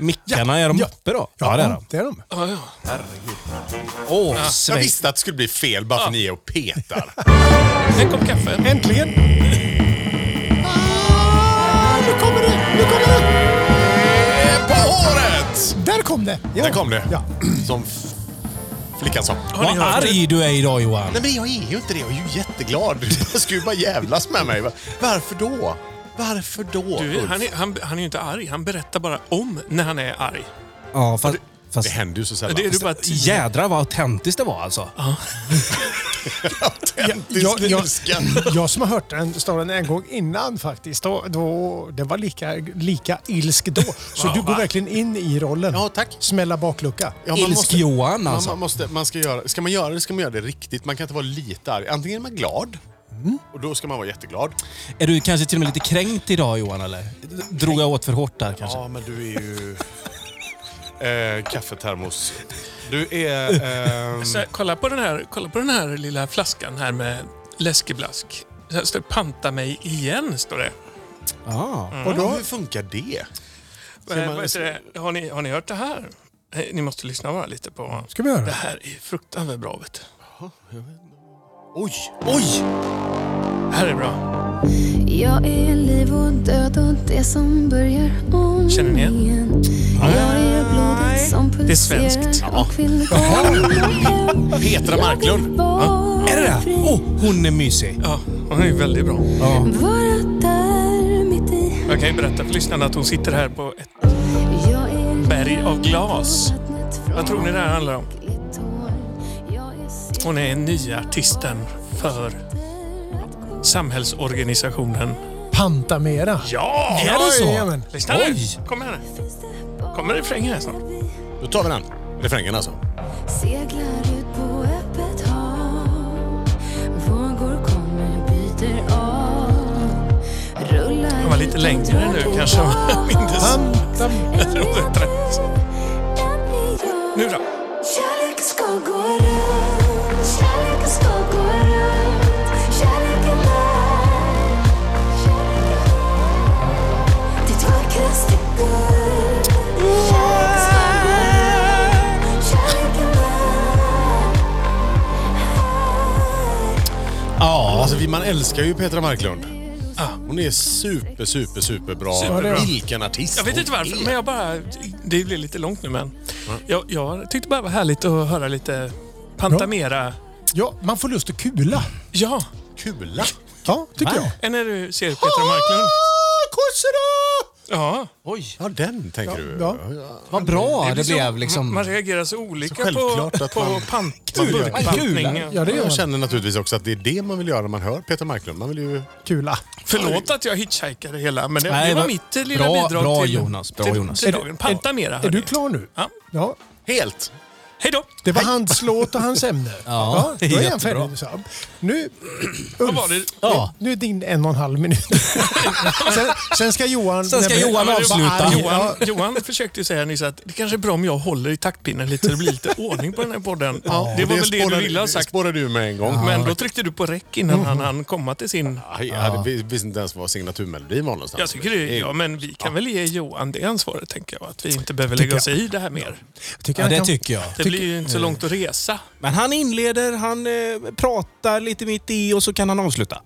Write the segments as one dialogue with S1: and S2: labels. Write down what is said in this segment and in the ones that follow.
S1: Mickarna, är de
S2: ja.
S1: uppe då?
S2: Ja,
S1: det är de.
S2: det är de. Ah,
S3: Ja, ja. Jag
S1: Åh, Schweiz.
S3: visste att det skulle bli fel bara för ni är och petar.
S1: En kopp kaffe.
S2: Äntligen! Ah, nu kommer det! Nu kommer det!
S3: Eh, På håret!
S2: Där kom det! Ja.
S3: Där kom det.
S2: Ja.
S3: Som f- flickan sa.
S1: Vad arg du är idag Johan.
S3: Nej men jag är ju inte det. Jag är ju jätteglad. Du ska ju bara jävlas med mig. Va- Varför då? Varför då?
S4: Du,
S3: Ulf?
S4: han, är, han, han är ju inte arg. Han berättar bara om när han är arg.
S1: Ja, fast...
S3: Det
S1: fast
S3: händer ju så sällan.
S4: Det är du bara
S1: jädrar vad autentiskt det var alltså.
S3: Autentisk
S2: jag,
S3: ilska.
S2: jag som har hört den storyn en gång innan faktiskt, då, då, det var lika, lika ilsk då. Så du går verkligen in i rollen.
S3: Ja, tack.
S2: Smälla baklucka.
S3: Ja, man måste-
S1: Ilsk-Johan
S3: man-
S1: alltså.
S3: Man måste, man ska, göra, ska man göra det ska man göra det riktigt. Man kan inte vara lite arg. Antingen är man glad, och då ska man vara jätteglad.
S1: Är du kanske till och med lite kränkt idag Johan eller? Drog jag åt för hårt där
S4: Alltså.
S1: kanske?
S3: Ja, men du är ju... eh, kaffetermos. Du är... ehm,
S4: Så här, kolla, på den här, kolla på den här lilla flaskan här med läskeblask. Så här står det, panta mig igen, står det.
S1: Ja.
S3: och då, hur funkar det?
S4: Eh, vad heter det? Har, ni, har ni hört det här? Eh, Ni måste lyssna bara lite på...
S2: Ska vi göra
S4: Det
S2: det?
S4: här är fruktansvärt bra, vet du.
S3: Oj! Oj!
S4: Det här är bra.
S5: Jag är liv och död och det som börjar om
S4: Känner ni igen?
S5: igen. Jag är blodet som
S4: Det är svenskt.
S5: pulserar och vill gå hem.
S3: Petra Marklund.
S5: Vara
S1: Är det det?
S5: fri.
S1: Oh, hon är mysig.
S4: Ja, hon är ju väldigt bra.
S5: Vara där mitt i.
S4: Jag kan ju berätta för lyssnarna att hon sitter här på ett...
S5: Jag är
S4: Berg av glas.
S5: vattnet från
S4: Vad tror ni det här handlar om?
S5: ett hår. Jag är sitt
S4: Hon är nya artisten för samhällsorganisationen.
S2: Pantamera.
S4: Ja!
S1: Är det så?
S2: Jajamän.
S4: Lyssna nu!
S1: Oj.
S4: Kom här nu. Kommer refrängen här snart?
S3: Då tar vi den. Refrängen alltså.
S5: seglar ut på öppet hav. Vågor kommer, byter av. Rullar
S4: Han var lite
S5: ut och
S4: längre nu
S5: drar
S4: kanske. Jag minns.
S2: Pantam...
S5: En är
S4: trodde inte det.
S5: du, en är jag.
S4: Nu då.
S5: Kärleken ska gå runt, kärleken ska gå runt, kärleken är, kärleken är ditt vackraste guld. Kärleken ska gå runt, kärleken är,
S1: Ja.
S3: Alltså, vi- man älskar ju Petra Marklund. Hon är super, super, superbra.
S4: Ah. Superbra.
S3: Vilken artist
S4: Jag vet inte
S3: hon
S1: E.
S4: varför,
S3: är.
S4: men jag bara... Det blir lite långt nu, men... Jag, jag tyckte bara det var härligt att höra lite Pantamera.
S2: Ja, man får lust att kula.
S4: Ja!
S3: Kula.
S2: Ja, tycker jag.
S4: Än när du ser Petra Marklund.
S3: Kossera!
S4: Ja.
S3: Ja, den tänker du.
S2: ja.
S1: Vad bra det
S4: liksom-
S1: blev
S4: Man
S1: liksom.
S4: reagerar så olika
S3: Så
S4: på,
S3: självklart att
S4: på
S3: man-
S4: pant,
S3: Man gör-
S4: burkbantning.
S2: Ja, det gör
S3: Jag
S2: man.
S3: känner naturligtvis också att det är det man vill göra när man hör Peter Marklund. Man vill ju...
S2: Kula.
S4: Förlåt att jag hitchhikade hela, men det,
S1: Nej,
S4: det var
S1: vad-
S4: mitt lilla
S1: bra-
S4: bidrag
S1: bra,
S4: till,
S1: Jonas, bra,
S4: till,
S1: Jonas.
S4: till
S1: Är du-
S4: dagen. Pantamera.
S2: Är du
S4: hörni.
S2: klar nu?
S4: Ja.
S2: Ja.
S3: Helt!
S4: Hej då!
S2: Det var hans låt och hans ämne.
S1: Ja,
S2: då är han
S1: jättebra.
S2: färdig. med Sam. Nu,
S4: Vad var det?
S1: Ja.
S2: nu är din en och en halv minut. sen, sen ska Johan...
S1: Sen ska
S2: nämligen-
S1: Johan
S2: Ja,
S1: avsluta.
S2: vad arg-
S4: Johan, Johan försökte ju säga nyss att det kanske är bra om jag håller i taktpinnen lite så det blir lite ordning på den här podden. det var väl det du
S3: spårade-
S4: ville ha sagt.
S3: spårade du med en gång.
S4: Men då tryckte du på räck innan han hann komma till sin...
S3: Aj, Jag hade, vi- visste inte ens vad signaturmelodin var någonstans.
S4: Jag tycker det, ja, men vi kan väl ge Johan det ansvaret, tänker jag. Att vi inte behöver lägga oss i det här mer.
S2: Jag tycker
S1: Ja,
S2: han
S1: det
S2: kan-
S1: tycker jag.
S4: Det blir ju inte så långt att resa.
S1: Men han inleder, han eh, pratar lite mitt i och så kan han avsluta.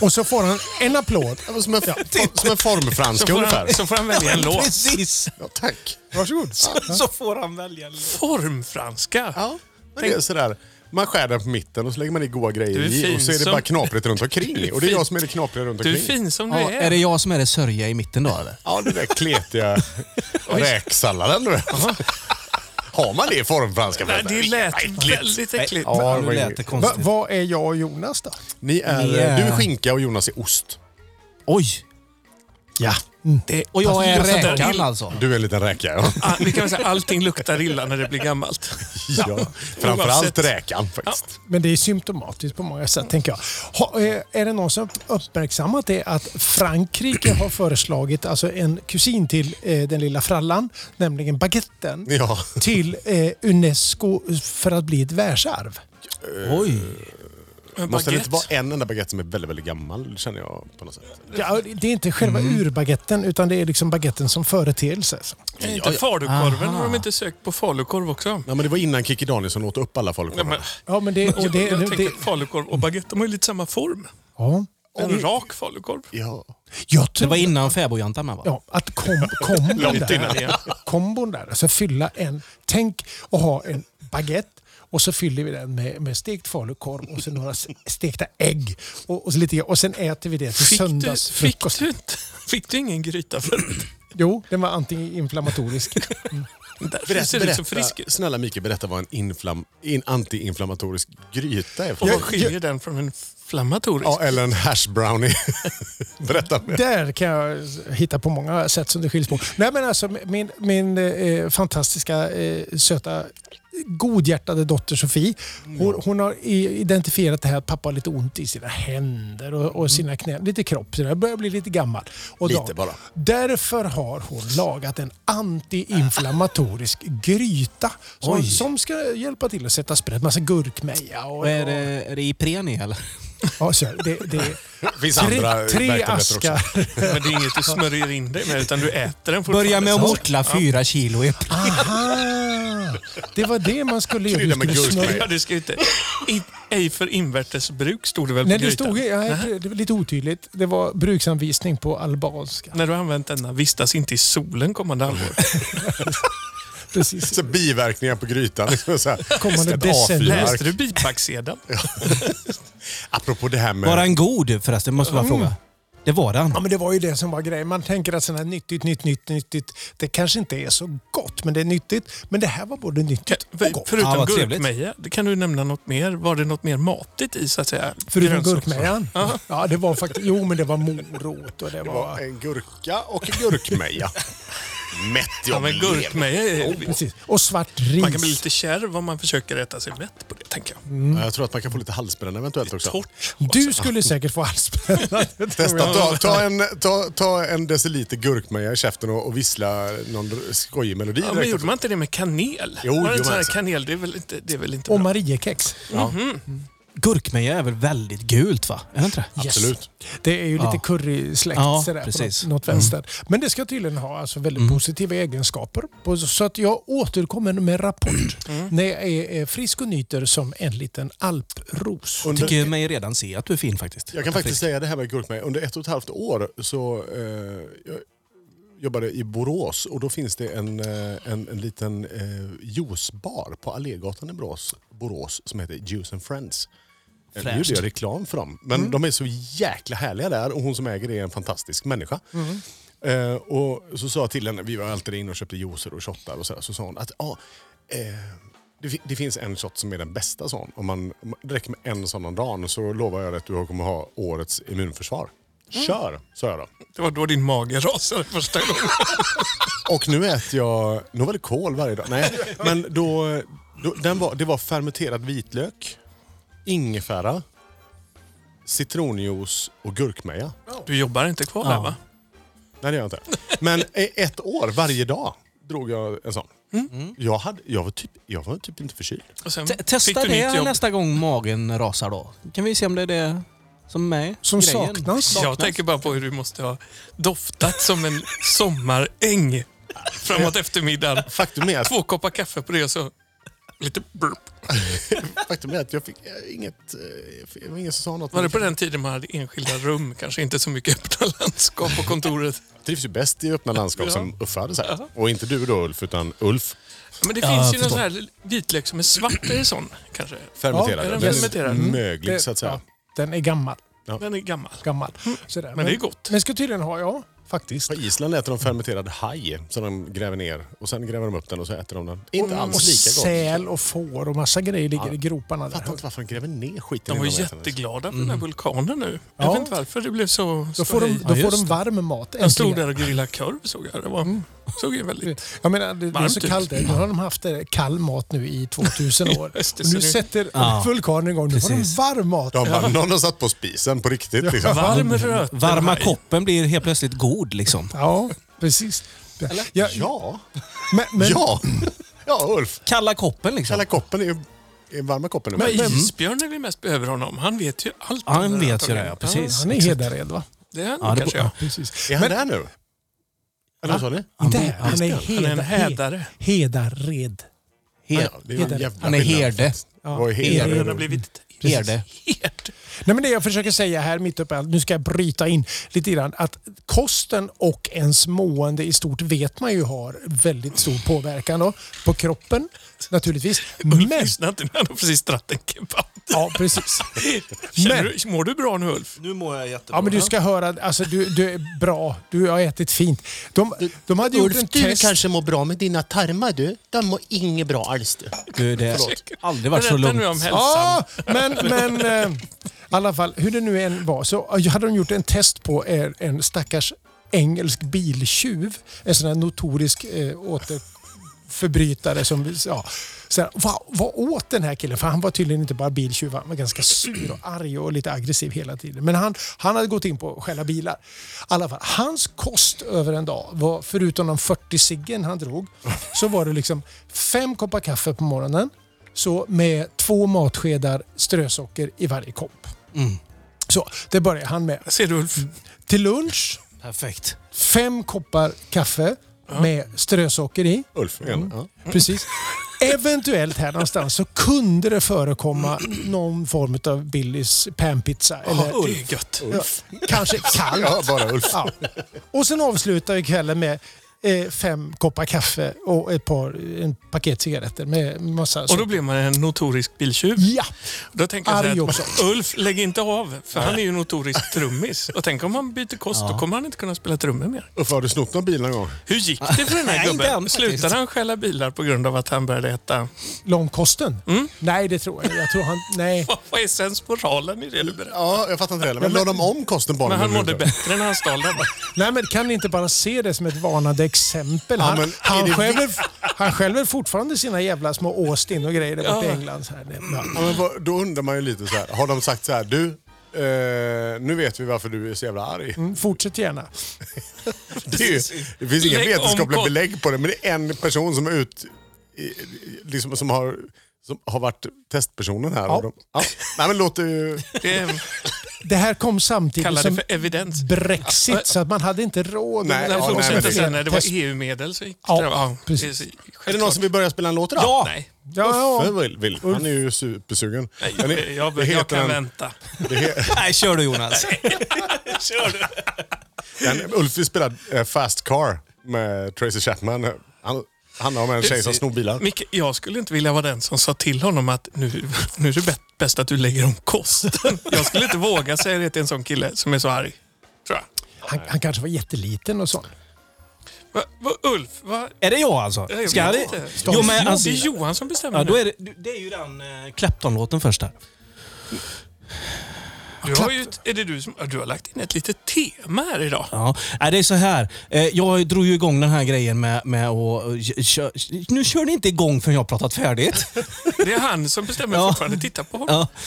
S2: Och så får han en applåd.
S3: Det var som en, som en
S4: Så
S3: formfranska
S4: får,
S3: ungefär.
S4: han, så får han välja en låt.
S1: Precis!
S3: Ja, tack.
S2: Varsågod.
S1: Så får han välja. en låt.
S4: Formfranska.
S3: Ja, men det är sådär. Man skär den på mitten och så lägger man i goa grejer
S4: Du är
S3: i
S4: fin
S3: och så är det
S4: som-
S3: bara knaprigt runt omkring. Och det är jag som är det knapriga runt
S4: Du är
S3: omkring.
S4: fin som du
S1: Ja,
S4: är.
S1: är det jag som är det sörja i mitten då eller?
S3: Ja, den där kletiga räksalladen du vet. Har man det i formfranska?
S4: Nej, det lät väldigt äckligt.
S3: Ja, det
S1: nu
S3: var
S1: lät
S3: inget.
S1: det
S2: Va,
S1: konstigt.
S2: vad är jag och Jonas då?
S3: Ni är,
S1: Ni är-
S3: Du är skinka och Jonas är ost.
S1: Oj!
S2: Ja.
S4: Det-
S1: Och jag är
S4: Fast det luktar
S1: räkan
S4: illa.
S1: alltså.
S3: Du är en liten räka. Ja.
S4: Ah, vi kan väl säga allting luktar illa när det blir gammalt.
S3: ja. Framförallt räkan faktiskt.
S2: Men det är symptomatiskt på många sätt, tänker jag. Ha, eh, är det någon som uppmärksammat det att Frankrike har föreslagit alltså en kusin till eh, den lilla frallan, nämligen baguetten,
S3: Ja.
S2: till eh, Unesco för att bli ett världsarv?
S1: Oj.
S4: Men
S3: Måste det
S4: baguette?
S3: inte vara en enda baguette som är väldigt, väldigt gammal känner jag på något sätt.
S2: Ja, det är inte själva urbaguetten utan det är liksom baguetten som företeelse.
S3: Ja,
S4: Är Inte
S3: ja.
S4: falukorven
S1: Aha.
S4: har de inte sökt på falukorv också?
S3: Nej, men det var innan Kikki Danielsson åt upp alla folk.
S4: Ja, men,
S2: Ja, men det... Och
S4: jag,
S2: det,
S4: jag
S2: det,
S4: tänkte att falukorv och baguette de har ju lite samma form.
S2: ja.
S4: En rak falukorv.
S3: Ja.
S2: Jag
S1: Det
S2: tror
S1: var innan fäbodjantarna va?
S2: ja, att kom, kombon,
S3: Långt innan,
S2: där, kombon där, alltså fylla en... Tänk att ha en baguette och så fyller vi den med, med stekt falukorv och så några s- stekta ägg. Och, och, så lite, och sen äter vi det till
S4: Fick du, fick,
S2: söndagsfrukost.
S4: du inte, fick du ingen gryta förut?
S2: Jo, den var antiinflammatorisk.
S4: Därför
S3: Berätta,
S4: ser du ut som frisk
S3: berätta,
S4: ut.
S3: snälla Mikael, berätta vad en inflam, in, antiinflammatorisk gryta är. för
S4: Och vad
S3: något.
S4: skiljer den från en flammatorisk?
S3: Ja, eller en hash brownie. berätta mer.
S2: Där kan jag hitta på många sätt som det skiljs på. Nej, men alltså, min min eh, fantastiska, eh, söta, godhjärtade dotter Sofie. Hon, hon har i- identifierat det här att pappa har lite ont i sina händer och, och sina knän. Lite kropp, så där börjar bli lite gammal. Och
S3: Mm. Lite bara.
S2: Därför har hon lagat en antiinflammatorisk gryta som,
S1: Oj.
S2: som ska hjälpa till att sätta sprätt. Massa gurkmeja och...
S1: Och är, det, är det Ipreni eller?
S2: Ja, så är det, det,
S3: Det finns
S2: tre,
S3: andra
S2: tre
S3: verksamheter
S2: askar.
S3: också.
S4: Men det är inget du smörjer in dig med utan du äter den fortfarande.
S1: Börja med att
S4: Så-
S1: mortla fyra kilo i
S2: Aha! Det var det man skulle göra.
S3: Krydda med
S2: Du skulle
S3: gurkmeja.
S2: smörja-
S4: Ja, det ska ju inte... I, ej för invärtesbruk stod det väl på
S2: Nej, det
S4: grytan?
S2: stod ja,
S4: Nej.
S2: det var lite otydligt. Det var bruksanvisning på albanska.
S4: När du har använt denna, vistas inte i solen kommande halvår.
S2: Precis.
S3: Så biverkningar på grytan. liksom Så här,
S2: Kommande
S3: ett A4-ark.
S2: decennium.
S4: Läste du bipacksedeln?
S3: Apropå det här med...
S1: Var han god förresten? Måste jag bara fråga. Det var han.
S2: Ja, men det var ju det som var grejen. Man tänker att sånt här nyttigt, nytt, nytt, nyttigt, det kanske inte är så gott, men det är nyttigt. Men det här var både nyttigt och gott.
S4: Förutom
S1: Ja, vad trevligt.
S4: gurkmeja, det kan du nämna något mer? Var det något mer matigt i så att säga?
S2: Förutom
S4: Grönsaks-
S2: gurkmejan. Ja, det var faktiskt... Jo, men det var morot och det var...
S3: En gurka och en gurkmeja. Mätt jag
S4: Ja, men
S3: blev.
S4: gurkmeja är...
S2: Precis. Och svart ris.
S4: Man kan bli lite kärv om man försöker äta sig mätt på det, tänker
S1: Mm.
S4: jag.
S3: Ja, Jag tror att man kan få lite halsbränna eventuellt också.
S4: Torrt.
S2: Du skulle säkert få halsbränna. det tror
S3: Testa,
S2: jag.
S3: ta, ta, en, ta, ta en deciliter gurkmeja i käften och, och vissla någon skojig melodi
S4: Ja, men
S3: direkt.
S4: gjorde man inte det med kanel?
S3: Jo,
S4: Var det
S3: jo,
S4: inte sån här
S3: alltså.
S4: kanel? Det är väl inte, det är väl inte
S2: Och
S4: bra?
S2: Mariekex.
S1: Gurkmeja är väl väldigt gult va? Är det inte det?
S2: Yes.
S3: Absolut.
S2: Det är ju lite
S1: Ja.
S2: currysläkt
S1: Ja,
S2: sådär, på
S1: precis. Mm.
S2: något, något vänster. Men det ska tydligen ha alltså väldigt positiva egenskaper. På- Så att jag återkommer med rapport
S1: Mm.
S2: när jag är eh, frisk och nyter som en liten alpros.
S1: Jag tycker mig redan se att du är fin faktiskt.
S3: Jag kan faktiskt säga det här med gurkmeja. Under ett och ett halvt år så eh, jag jobbade i Borås och då finns det en, eh, en, en liten eh, juicebar på Allégatan i Borås, Borås som heter Juice and Friends. Eh, Nu
S1: Fräscht.
S3: gjorde jag reklam för dem. Men de är så jäkla härliga där och hon som äger det är en fantastisk människa. Eh, och så sa jag till henne, vi var alltid inne och köpte juicer och shottar och sådär. Så sa hon att ah, eh, det, fi- det finns en shot som är den bästa sån. Om man, om det räcker med en sån om dagen så lovar jag dig att du kommer ha årets immunförsvar. Kör, sa jag då.
S4: Det var då din mage rasade första gången.
S3: Och nu äter jag Novel Kol varje dag. Nej, men då, då, den var, det var fermenterad vitlök, ingefära, citronjuice och gurkmeja.
S4: Du jobbar inte kvar där,
S1: Ja.
S4: va?
S3: Nej, det gör jag inte. Men i ett år, varje dag, drog jag en sån.
S4: Mm.
S3: Jag, hade, jag, var typ, jag var typ inte förkyld.
S4: Och sen
S1: T- Testa
S4: fick du nytt
S1: det
S4: jobb.
S1: nästa gång magen rasar då. Kan vi se om det är det som är
S2: Som
S1: grejen.
S2: saknas.
S4: Jag tänker bara på hur du måste ha doftat som en sommaräng framåt eftermiddagen.
S3: Faktum är att,
S4: Två koppar kaffe på det och så lite burp.
S3: faktum är att jag fick eh, inget... eh, Det var ingen som sa något.
S4: Var det på den tiden man hade enskilda rum? Kanske inte så mycket öppna landskap på kontoret.
S3: Jag trivs ju bäst i öppna landskap som Uffe hade sagt. Och inte du då Ulf, utan Ulf.
S4: Men det
S1: Ja,
S4: finns ju
S1: förstår.
S4: någon sån här vitlök som är svart. Är det sån kanske?
S3: Fermenterad.
S4: är den
S3: Den är
S4: fermenterad? Mm.
S3: Möglig,
S2: Mm. Det-
S3: så att säga.
S2: ja, den är gammal.
S4: Den är gammal.
S2: gammal.
S1: Mm.
S2: Sådär.
S4: Men det är gott.
S2: Men ska tydligen ha, ja. Faktiskt.
S3: På Island äter de fermenterad haj som de gräver ner. Och sen gräver de upp den och så äter de den. Inte
S2: Och
S3: alls lika gott.
S2: säl och får och massa grejer ligger i groparna
S3: Jag fattar
S2: där.
S3: inte varför de gräver ner skiten.
S4: De var
S3: innan äter den.
S4: jätteglada för den här vulkanen nu. Jag
S2: Ja.
S4: vet inte varför det blev så...
S2: Då får de,
S4: ståhej.
S2: då
S1: Ja,
S2: får
S1: just
S2: de
S1: det.
S2: varm mat.
S4: Jag stod
S2: äntligen.
S4: där och grillade korv såg jag. Det var, såg ju väldigt...
S2: Jag menar, det, det är
S4: Varmt
S2: så
S4: ut.
S2: kallt där. Nu har de haft eh, kall mat nu i 2000 år.
S4: Just det,
S2: Och nu
S4: så nu-
S2: sätter
S1: Ja.
S2: vulkanen igång. Nu får de
S1: Precis.
S2: varm mat.
S3: De bara, någon har satt på spisen på riktigt. Liksom.
S4: Varm röt.
S1: Varma koppen blir helt plötsligt god liksom.
S2: Ja, precis. Ja,
S3: Ja.
S2: men, men,
S3: Ja. ja, Ulf.
S1: Kalla koppen liksom.
S3: Kalla koppen är ju är varma koppen. nu.
S4: Men
S3: Men-
S4: Isbjörn är vi mest behöver honom. Han vet ju allt.
S1: Ja, han
S4: om den
S1: vet
S4: här
S1: ju det.
S4: tagningen.
S1: Ja, precis.
S2: Han är Hedared va?
S4: Ja, Det är han
S1: Ja, det
S4: kanske.
S1: borde-
S4: ja.
S2: Precis.
S3: Är han
S2: Men,
S3: där nu? Eller vad sa ni?
S1: Han
S2: Inte
S1: bor-
S2: här.
S1: han
S2: Han är,
S1: bor-
S4: Han är en
S2: heda-
S4: hädare.
S2: he- Hedared.
S1: Her,
S3: Ja, det är ju en jävla
S1: han är
S3: skillnad.
S1: herde.
S2: Ja.
S3: Vad är herde?
S4: Han har blivit
S1: Herde.
S4: herd.
S2: Nej, men det jag försöker säga här mitt uppe, i allt, nu ska jag bryta in lite grann, att kosten och ens mående i stort vet man ju har väldigt stor påverkan då, på kroppen naturligtvis. Men,
S4: Ulf lyssnar inte, men han har precis dratt en kebab.
S2: ja, precis.
S4: Känner
S2: Men-
S4: du, mår du bra nu Ulf?
S1: Nu mår jag jättebra.
S2: Ja, men du ska höra, alltså du, du är bra, du har ätit fint. De, de hade gjort en
S6: Ulf, du
S2: test.
S6: kanske mår bra med dina tarmar du. De mår inget bra alls du.
S1: Du, det har aldrig varit så
S4: Berätta nu om
S1: lugnt.
S4: hälsan.
S2: Ja, men, men eh, i alla fall, hur det nu än var så hade de gjort en test på en, en stackars engelsk biltjuv. En sån här notorisk eh, återförbrytare som... Ja, så här, vad, vad åt den här killen? För han var tydligen inte bara biltjuv, han var ganska sur och arg och lite aggressiv hela tiden. Men han, han hade gått in på att stjäla bilar. I alla fall, hans kost över en dag var, förutom de 40 ciggen han drog, så var det liksom fem koppar kaffe på morgonen, så med två matskedar strösocker i varje kopp. Så det började han med.
S4: Ser du Ulf?
S2: Till lunch,
S1: Perfekt.
S2: fem koppar kaffe med strösocker i.
S3: Ulf igen. Ja.
S2: Precis. Eventuellt här någonstans så kunde det förekomma någon form av Billys panpizza. Eller
S4: Det är gött.
S2: kanske kallt.
S3: Ja, bara Ulf.
S2: Ja. Och sen avslutar vi kvällen med eh, fem koppar kaffe och ett par en paket cigaretter med massa...
S4: Och då blir man en notorisk biltjuv.
S2: Ja!
S4: Då tänker jag
S2: Arg
S4: så
S2: också.
S4: här, Ulf, lägg inte av. För han är ju notorisk trummis. Och tänk om han byter kost, då kommer han inte kunna spela trummor mer.
S3: Ulf, har du snott någon bil någon gång?
S4: Hur gick det för den här
S1: Nej, inte än
S4: gubben?
S1: faktiskt.
S4: Slutade han stjäla bilar på grund av att han började äta?
S2: Långkosten?
S4: Mm.
S2: Nej, det tror jag inte. Jag tror han... Nej.
S4: Vad- Vad är sensmoralen i det du berättar?
S3: Ja, jag fattar inte heller. Men la de om kosten bara?
S4: Men han mådde bättre när han stal den.
S2: Nej, men kan ni inte bara se det som ett varnande exempel?
S3: Ja,
S2: Han,
S3: men är
S2: han,
S3: det-
S2: skälver, han skälver fortfarande sina jävla små Austin och grejer där borta i
S4: Ja.
S2: England. Så här. Det- ja.
S3: Ja, men vad, då undrar man ju lite så här. Har de sagt så här, du, eh, nu vet vi varför du är så jävla arg.
S2: Mm, Fortsätt gärna.
S3: Det, är ju, det finns inga
S4: Lägg om
S3: vetenskapliga
S4: kost.
S3: belägg på det, men det är en person som är ut, i- liksom, som, har, som har varit testpersonen här. Och de, ja. Nej, men låter ju...
S4: Det är-
S2: Det här kom samtidigt
S4: kallar det
S2: som
S4: för evidens.
S2: Brexit, så man hade inte råd.
S3: Nej,
S2: med-
S3: ja,
S4: Den
S3: nej, men
S4: fortsätter
S3: det-
S4: sen när det var
S2: Test-
S4: EU-medel så gick
S2: Ja,
S4: det. Ja,
S2: precis.
S4: det är så-
S3: Är det någon som vill börja spela en låt idag?
S4: Ja! Nej,
S2: Ja,
S3: Uffe
S2: ja.
S3: vill, vill. Han är ju supersugen.
S4: nej
S3: Men
S4: jag, jag,
S3: det
S4: jag,
S3: heter
S4: kan
S3: en-
S4: vänta.
S3: det he-
S1: Nej, kör du Jonas.
S4: Kör du.
S3: Den, Ulf vill spela eh, Fast Car med Tracy Chapman. Han handlar om en tjej som snor bilar.
S4: Micke, jag skulle inte vilja vara den som sa till honom att nu, nu är det bä- bäst att du lägger om kosten. Jag skulle inte våga säga det till en sån kille som är så arg. Tror jag.
S2: Han, han kanske var jätteliten och så.
S4: Va, va, Ulf, va?
S1: Är det jag alltså?
S4: Jag vet
S1: Ska det?
S4: inte.
S1: Jo, men
S4: det
S1: alltså,
S4: är Johan som bestämmer
S1: ja, då
S4: nu.
S1: är det, det är ju den eh, Clapton-låten först här.
S4: Du har ju, ett- är det du, som, ja, du har lagt in ett litet tema här idag.
S1: Ja. Nej, det är så här. Eh, Jag drog ju igång den här grejen med, med att... eh, kö- kö- Nu kör ni inte igång förrän jag har pratat färdigt.
S4: Det är han som bestämmer
S1: Ja.
S4: fortfarande. Titta på honom.
S1: Ja.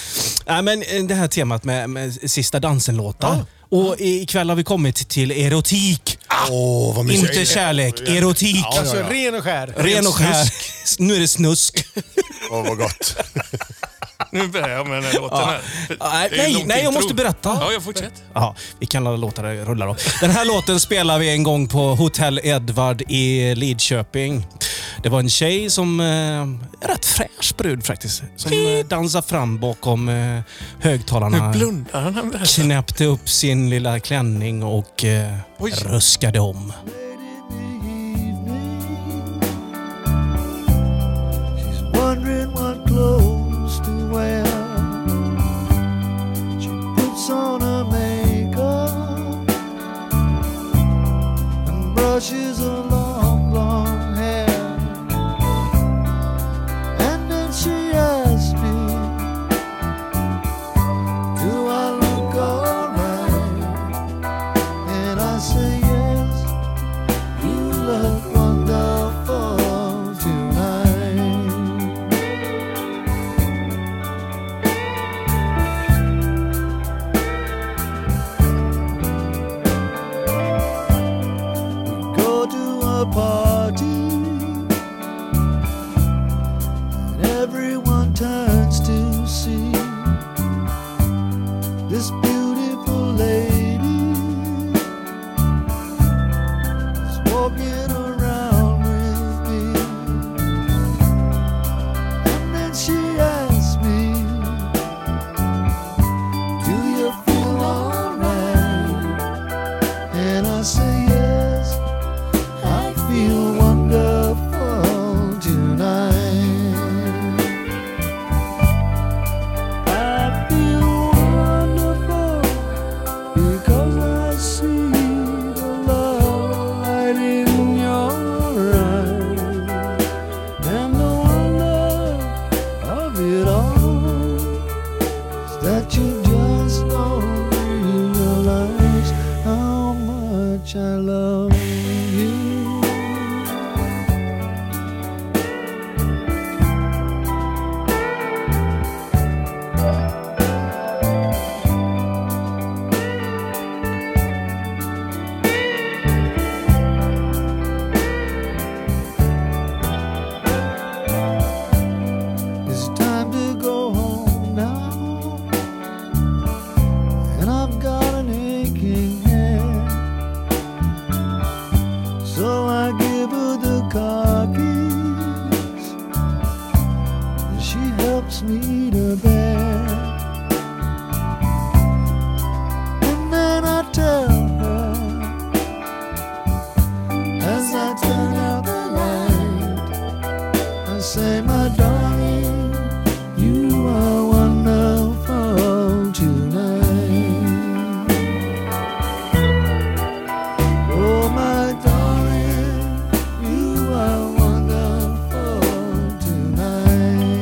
S1: Nej, men eh, det här temat med, med sista dansen-låtar. Och i- ikväll har vi kommit till erotik.
S4: Ah,
S3: Åh, vad mysigt.
S1: Inte kärlek, erotik.
S2: Alltså ren och skär.
S1: Ren och skär. Nu är det snusk.
S3: Åh, vad gott.
S4: Nu börjar jag med den här låten här. Det är
S1: nej,
S4: en lång
S1: nej, jag
S4: intro.
S1: måste berätta.
S4: Ja, jag fortsätter.
S1: Ja, vi kan alla låta det rulla då. Den här låten spelade vi en gång på Hotell Edvard i Lidköping. Det var en tjej som... Eh, rätt fräsch brud faktiskt. Som eh, dansade fram bakom eh, högtalarna.
S4: Nu blundar han. han berättar.
S1: Knäppte upp sin lilla klänning och eh,
S4: Oj.
S1: ruskade om.
S7: She's wondering what clothes to wear. She puts on her makeup and brushes her long, long hair. And then she asks me, Do I look alright? And I say yes, deliver the cartridge. And she helps me to bed. And then I tell her, as I turn out the light, I say, my darling, you are wonderful tonight. Oh my darling, you are wonderful tonight.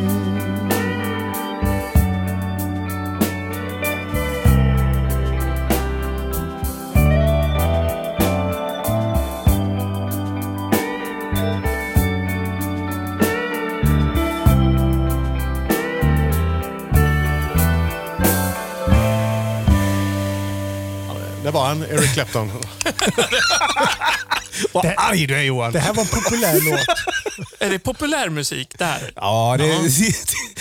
S3: Där var han, Eric Clapton.
S1: Vad arg du är Johan!
S2: Det här var en populär låt.
S4: Är det populärmusik där?
S1: Ja, det...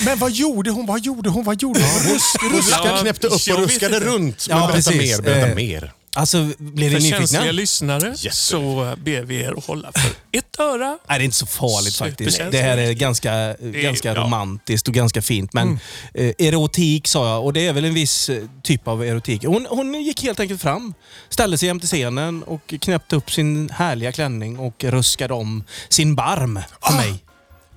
S2: Men vad gjorde hon? Vad gjorde hon? Vad gjorde hon?
S3: Ruska
S4: Ja,
S3: knäppte upp
S4: jag
S3: och
S4: vet
S3: ruskade
S4: inte.
S3: runt. Men
S1: Ja,
S3: berätta
S1: precis.
S3: mer, berätta
S1: Eh,
S3: mer.
S1: alltså, blir ni
S4: För
S1: nyfikna?
S4: känsliga lyssnare
S3: Jätte.
S4: så ber vi er att hålla för ett öra.
S1: Nej, det är inte så farligt faktiskt.
S4: Superkänsligt.
S1: Det här är ganska, ganska
S4: ja.
S1: romantiskt och ganska fint. Men eh, erotik sa jag och det är väl en viss eh, typ av erotik. Hon, hon gick helt enkelt fram, ställde sig jämte scenen och knäppte upp sin härliga klänning och ruskade om sin barm för mig.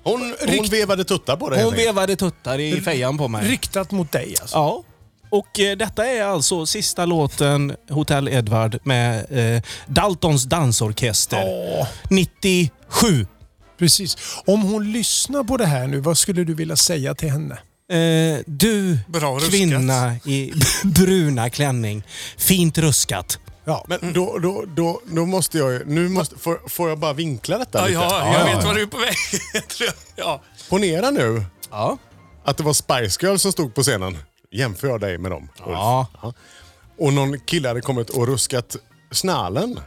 S3: Hon, hon vevade tuttar på det helt
S1: Hon
S3: enkelt.
S1: vevade tuttar i fejan på mig.
S2: Riktat mot dig alltså.
S1: Ja. Och eh, detta är alltså sista låten, Hotel Edward, med eh, Daltons dansorkester. 97.
S2: Precis. Om hon lyssnar på det här nu, vad skulle du vilja säga till henne?
S1: Eh, du,
S4: Bra ruskat.
S1: kvinna i bruna klänning. Fint ruskat.
S2: Ja.
S3: Men då, då, då, då måste jag ju... Nu måste, får, får jag bara vinkla detta
S4: Ja,
S3: lite?
S4: ja, jag vet var du är på väg. tror jag. ja.
S3: Ponera nu
S1: Ja.
S3: att det var Spice Girls som stod på scenen. Jämför jag dig med dem, Ulf.
S1: Ja.
S3: Och någon kille hade kommit och ruskat snallen. Det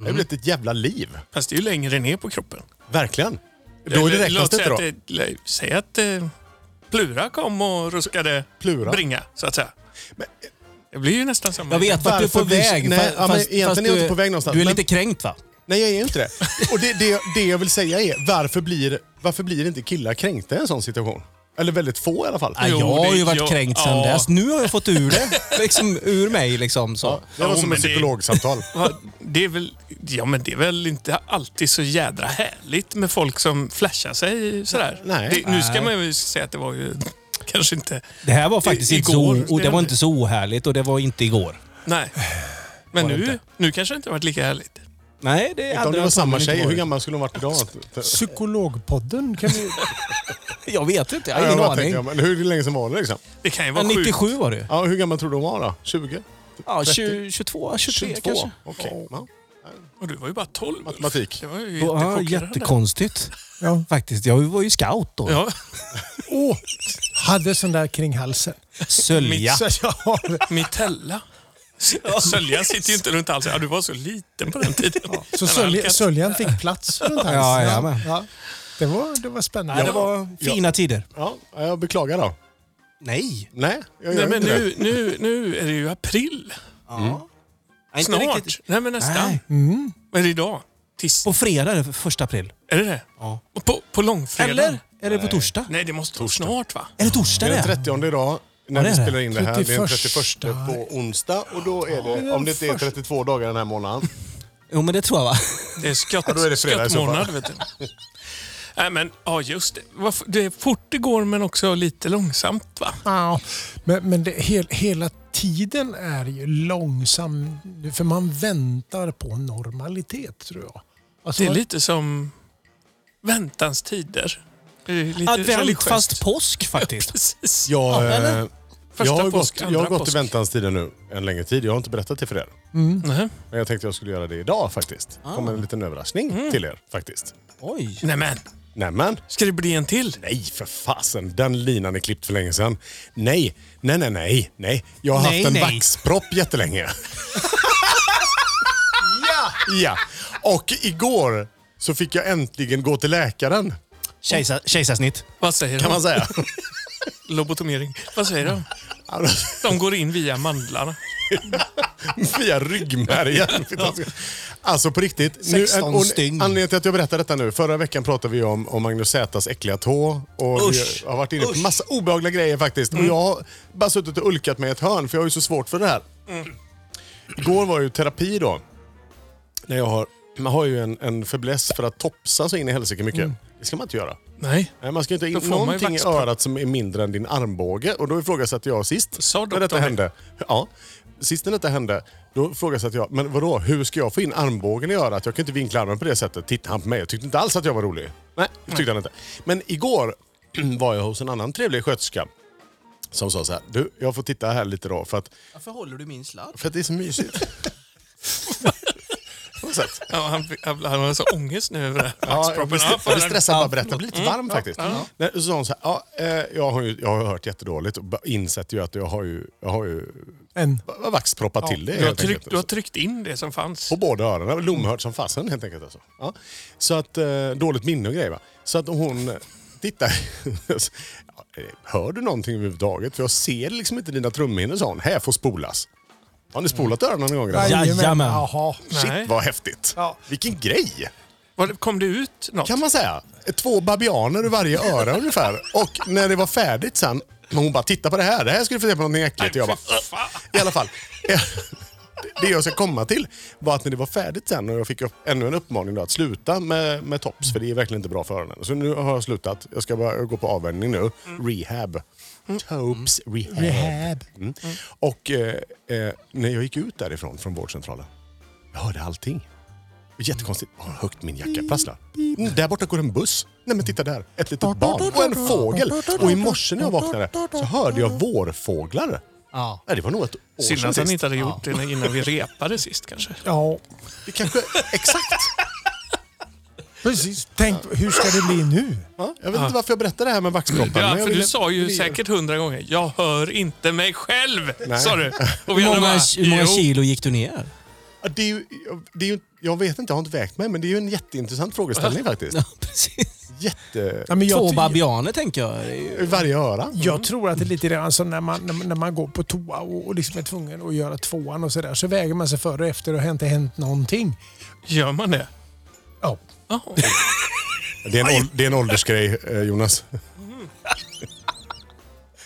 S3: hade blivit ett jävla liv.
S4: Fast det är ju längre ner på kroppen. Eh,
S3: Verkligen. Då är det räknas
S4: Låt
S3: det inte
S4: säga
S3: då.
S4: att det- Säg att eh, Plura kom och ruskade
S3: Plura? eh,
S4: bringa, så att säga. det blir ju nästan samma.
S1: Jag vet vart du är på
S3: Varför vi-
S1: väg.
S3: Nej,
S1: fa-
S3: ja, men egentligen är jag
S1: du-
S3: inte på väg någonstans,
S1: Du är
S3: men-
S1: lite kränkt va?
S3: Nej, jag är inte det. Och det, det, det jag vill säga är, varför blir, varför blir inte killar kränkta i en sån situation? Eller väldigt få i alla fall.
S1: Nej,
S4: Jo,
S1: jag har
S4: det-
S1: ju varit
S4: jag-
S1: kränkt sedan
S4: ja.
S1: dess. Nu har jag fått ur det. Liksom, ur mig liksom. Så.
S3: Det var
S4: Jo,
S3: som
S4: men
S3: ett
S4: det-
S3: psykologsamtal.
S4: Va, Det är, väl, ja, men det är väl inte alltid så jädra härligt med folk som flashar sig sådär.
S3: Nej.
S4: det, nu ska man ju säga att det var ju kanske inte...
S1: Det här var faktiskt
S4: I-
S1: inte,
S4: igår
S1: så, och det var
S4: spelade-
S1: inte så ohärligt och det var inte igår.
S4: Nej. Men
S1: Var det
S4: nu,
S1: inte.
S4: nu kanske det inte har varit lika härligt.
S1: Nej, det
S3: Inte om det
S1: jag
S3: var samma
S1: troligen inte
S3: tjej. Hur
S1: varit.
S3: gammal skulle hon varit idag?
S2: Psykologpodden kan vi...
S1: Jag vet inte. Jag
S3: Ja,
S1: har ingen
S3: jag bara
S1: aning.
S3: tänker, men hur länge sedan var det liksom?
S4: Det kan ju vara
S1: Men
S4: sjukt.
S1: 97 var det
S3: Ja, hur gammal tror du hon var då? 20?
S1: Ja, 20, 22, 23
S3: 22?
S1: kanske.
S3: Okej. Ja.
S4: Och du var ju bara 12.
S3: Matematik.
S4: Det var ju
S1: Ja,
S4: jättechockerande.
S1: jättekonstigt.
S2: Ja.
S1: Faktiskt. Jag var ju scout då.
S4: Ja,
S2: Åh! Hade sån där kring halsen.
S1: Sölja.
S2: Så jag har...
S4: Mitella. Söljan sitter ju inte runt halsen. Ja, du var så liten på den tiden.
S2: Så
S4: Den
S2: sölj,
S4: halkat.
S2: söljan fick plats runt halsen.
S1: Ja, ja, men.
S2: Ja. Det, var, det var spännande.
S1: Nej, det var fina tider.
S3: Ja, jag beklagar då.
S1: Nej.
S3: Nej, jag gör
S4: Nej, men
S3: inte det.
S4: nu, nu, nu är det ju april.
S1: Nej, inte
S4: Snart.
S1: riktigt.
S4: Nej, men nästan.
S1: Nej.
S4: Vad är det idag? Tisdag?
S1: På fredag är det första april.
S4: Är det det?
S1: Ja.
S4: Och På, på långfredagen?
S1: Eller? Är det på torsdag?
S4: Nej, det måste vara snart va?
S1: Är det torsdag
S3: Det är
S1: det?
S3: den 30 idag när
S1: Ja, det
S3: vi
S1: är det.
S3: spelar in det här. Det är den
S2: 31.
S3: 31 på onsdag och då är det,
S2: den
S3: om det inte är
S2: första.
S3: 32 dagar den här månaden.
S1: Jo, men det tror jag va?
S4: Det är skott,
S3: då är det fredag i så fall.
S4: skottmånad vet du. Nej, men ja, just det. Varför- Det är fort det går men också lite långsamt va?
S2: Ja, men, men det, hel, hela tiden är ju långsam, för man väntar på normalitet tror jag. Alltså,
S4: Det är lite som väntans tider. Det är lite
S1: Advent
S4: religiöst.
S1: fast påsk faktiskt.
S4: Precis.
S3: Jag,
S1: Ja, eller?
S3: eh,
S4: Första
S3: jag har
S4: påsk,
S3: gått, jag har gått
S4: andra
S3: i
S4: påsk. Mm.
S3: väntans tider nu en längre tid. Jag har inte berättat det för er.
S4: Nej. Ah.
S3: Men jag tänkte jag skulle göra det idag faktiskt. Kommer en liten överraskning
S4: Mm.
S3: till er faktiskt.
S1: Oj.
S4: Nej men,
S3: Nämen!
S4: ska det bli en till?
S3: Nej för fasen, den linan är klippt för länge sedan. Nej, nej, nej, nej. nej. Jag har
S1: Nej,
S3: haft en
S1: nej.
S3: vaxpropp jättelänge. ja! ja! Och igår så fick jag äntligen gå till läkaren,
S1: Kejsar, kejsarsnitt.
S4: Vad säger
S3: kan
S4: de?
S3: man säga.
S4: Lobotomering. Vad säger de? De går in via mandlarna.
S3: Via ryggmärgen. Alltså på riktigt. Nu,
S1: 16
S3: och
S1: stygn.
S3: anledningen till att jag berättar detta nu. Förra veckan pratade vi om, om Magnus Zätas äckliga tå. Och
S1: Usch. Mm.
S3: vi har varit inne på massa obehagliga grejer faktiskt. Och jag har bara suttit och ulkat mig i ett hörn för jag har ju så svårt för det här.
S1: Mm.
S3: Igår var ju terapi då. När jag har, man har ju en, en fäbless för att topsa så in i helsike mycket.
S1: Mm.
S3: Det ska man inte göra.
S4: Nej.
S3: Nej, man ska inte ha
S4: Då
S3: in
S4: får man ju
S3: någonting i
S4: vaxpropp.
S3: örat som är mindre än din armbåge. Och då ifrågasatte jag sist
S4: Sa
S3: när detta
S4: doktorn
S3: hände. Ja, sist när detta hände, då ifrågasatte jag, men vadå, hur ska jag få in armbågen i örat? Jag kan inte vinkla armen på det sättet. Tittade han på mig och tyckte inte alls att jag var rolig. Nej, det tyckte han inte. Men igår var jag hos en annan trevlig sköterska som sa så här, du, jag får titta här lite då för att,
S1: Varför håller du min sladd?
S3: för att det är så mysigt. På något sätt.
S4: Ja, han, han, han har så ångest nu över det här.
S3: Ja, jag
S4: Proppen.
S3: blir
S4: Ja,
S3: stressad,
S4: för
S3: jag blir
S4: den-
S3: stressad bara berätta. Jag blir lite varm faktiskt. Nej, så sa hon så här, ja, eh, jag, har ju, jag har hört jättedåligt och bara insett ju att jag har ju, jag har ju
S2: En.
S3: va- va- vaxproppat till det
S4: Du har,
S3: helt
S4: tryckt,
S3: enkelt. alltså.
S4: du har tryckt in det som fanns.
S3: På båda öronen. Lomhört som fasen helt enkelt. Alltså. Ja. Så att, eh, dåligt minne och grejer. Va? Så att hon eh, tittar. Ja, eh, Hör du någonting överhuvudtaget? För jag ser liksom inte dina trumhinnor sa hon. Här får spolas. Har ni spolat öronen någon gång? grabbar?
S1: Jajamän.
S2: Jaha.
S4: Mm. Nej.
S3: Shit vad häftigt.
S2: Ja.
S3: Vilken grej!
S4: Var det- Kom det ut något?
S3: kan man säga. Två babianer ur varje öra ungefär. Och när det var färdigt sen, men hon bara titta på det här, det här skulle få se på någonting äckligt. Och Jag bara,
S4: Fy fan.
S3: i alla fall. Det jag ska komma till var att när det var färdigt sen och jag fick upp, ännu en uppmaning då, att sluta med, med tops för det är verkligen inte bra för öronen. Så nu har jag slutat. Jag ska bara gå på avvänjning nu. Rehab.
S4: Mm.
S3: Tops rehab.
S2: Rehab.
S3: Mm. Och eh, eh, när jag gick ut därifrån från vårdcentralen, jag hörde allting. Jättekonstigt. Vad högt min jacka prasslar. Mm, där borta går en buss. Nej men titta där. Ett litet barn och en fågel. Och i morse när jag vaknade så hörde jag vårfåglar.
S6: Ja.
S3: Nej, det var nog ett år
S4: Synd
S3: sedan
S4: att han
S3: sist.
S4: inte hade gjort det innan vi repade sist kanske.
S2: Ja,
S3: Det kanske, exakt.
S2: precis. Tänk, hur ska det bli nu?
S3: Ja, jag vet inte varför jag berättar det här med vaxproppen. men
S4: Ja,
S3: jag
S4: för du
S3: ville-
S4: sa ju säkert hundra gånger, jag hör inte mig själv.
S3: Nej.
S4: Sa du. Och
S1: Hur många,
S4: andra bara,
S1: hur många
S4: "Jo."
S1: kilo gick du ner?
S3: Ja, Det är ju, det är ju, jag vet inte, jag har inte vägt mig, men det är ju en jätteintressant frågeställning faktiskt.
S1: Ja, precis.
S3: Jätte...
S2: Ja, men jag
S1: Två
S2: ty-
S1: babianer tänker jag. Det är ju-
S3: I varje öra.
S2: Jag tror att det är lite grann som när man, när, när man går på toa och, och liksom är tvungen att göra tvåan och sådär. Så väger man sig före och efter och har inte hänt någonting.
S4: Gör man det?
S2: Ja.
S4: Ja.
S3: Det är en, ål- det är en åldersgrej, eh, Jonas.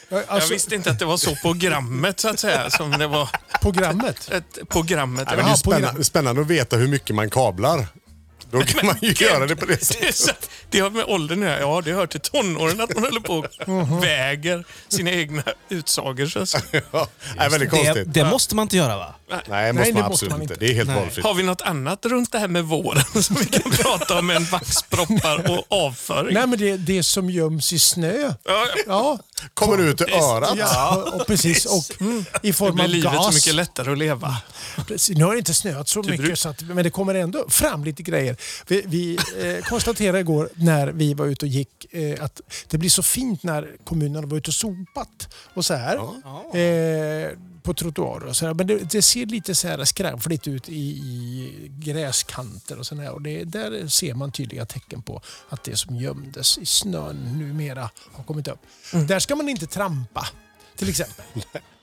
S2: Ja,
S4: Jag
S2: Alltså,
S4: visste inte att det var så på grammet så att säga, som det var
S2: programmet.
S4: ett, på grammet.
S3: Ja, men det är ju
S2: Ja, på
S3: spännande, spännande att veta hur mycket man kablar. Då kan man ju göra det på det
S4: Det, är
S3: sättet.
S4: så- det har med åldern att göra. Ja, det hör till tonåren att man håller på och väger sina egna utsagor. Så att säga.
S3: Ja, nej, väldigt
S1: Det,
S3: konstigt.
S1: det måste man inte göra va?
S3: Nej, det måste
S2: det
S3: man
S2: måste
S3: absolut
S2: man
S3: inte.
S2: inte.
S3: Det är helt valfritt.
S4: Har vi något annat runt det här med våren som vi kan prata om än vaxproppar och avföring?
S2: Nej, men det, det som göms i snö.
S4: Ja,
S2: Ja,
S3: Kommer du ut i örat?
S2: ja. Och, och precis. Och mm, i
S4: det
S2: form
S4: blir
S2: av
S4: livet så
S2: gas.
S4: mycket lättare att leva.
S2: Precis. Nu har det inte snöat så mycket, så att, men det kommer ändå fram lite grejer. Vi, vi eh, konstaterade igår när vi var ute och gick eh, att det blir så fint när kommunen var ute och sopat och så här. Eh, på trottoarer och så här. Men det, det ser lite så här skrämfligt ut i, i gräskanter och så här. Och det, där ser man tydliga tecken på att det som gömdes i snön numera har kommit upp. Där ska man inte trampa. Till exempel.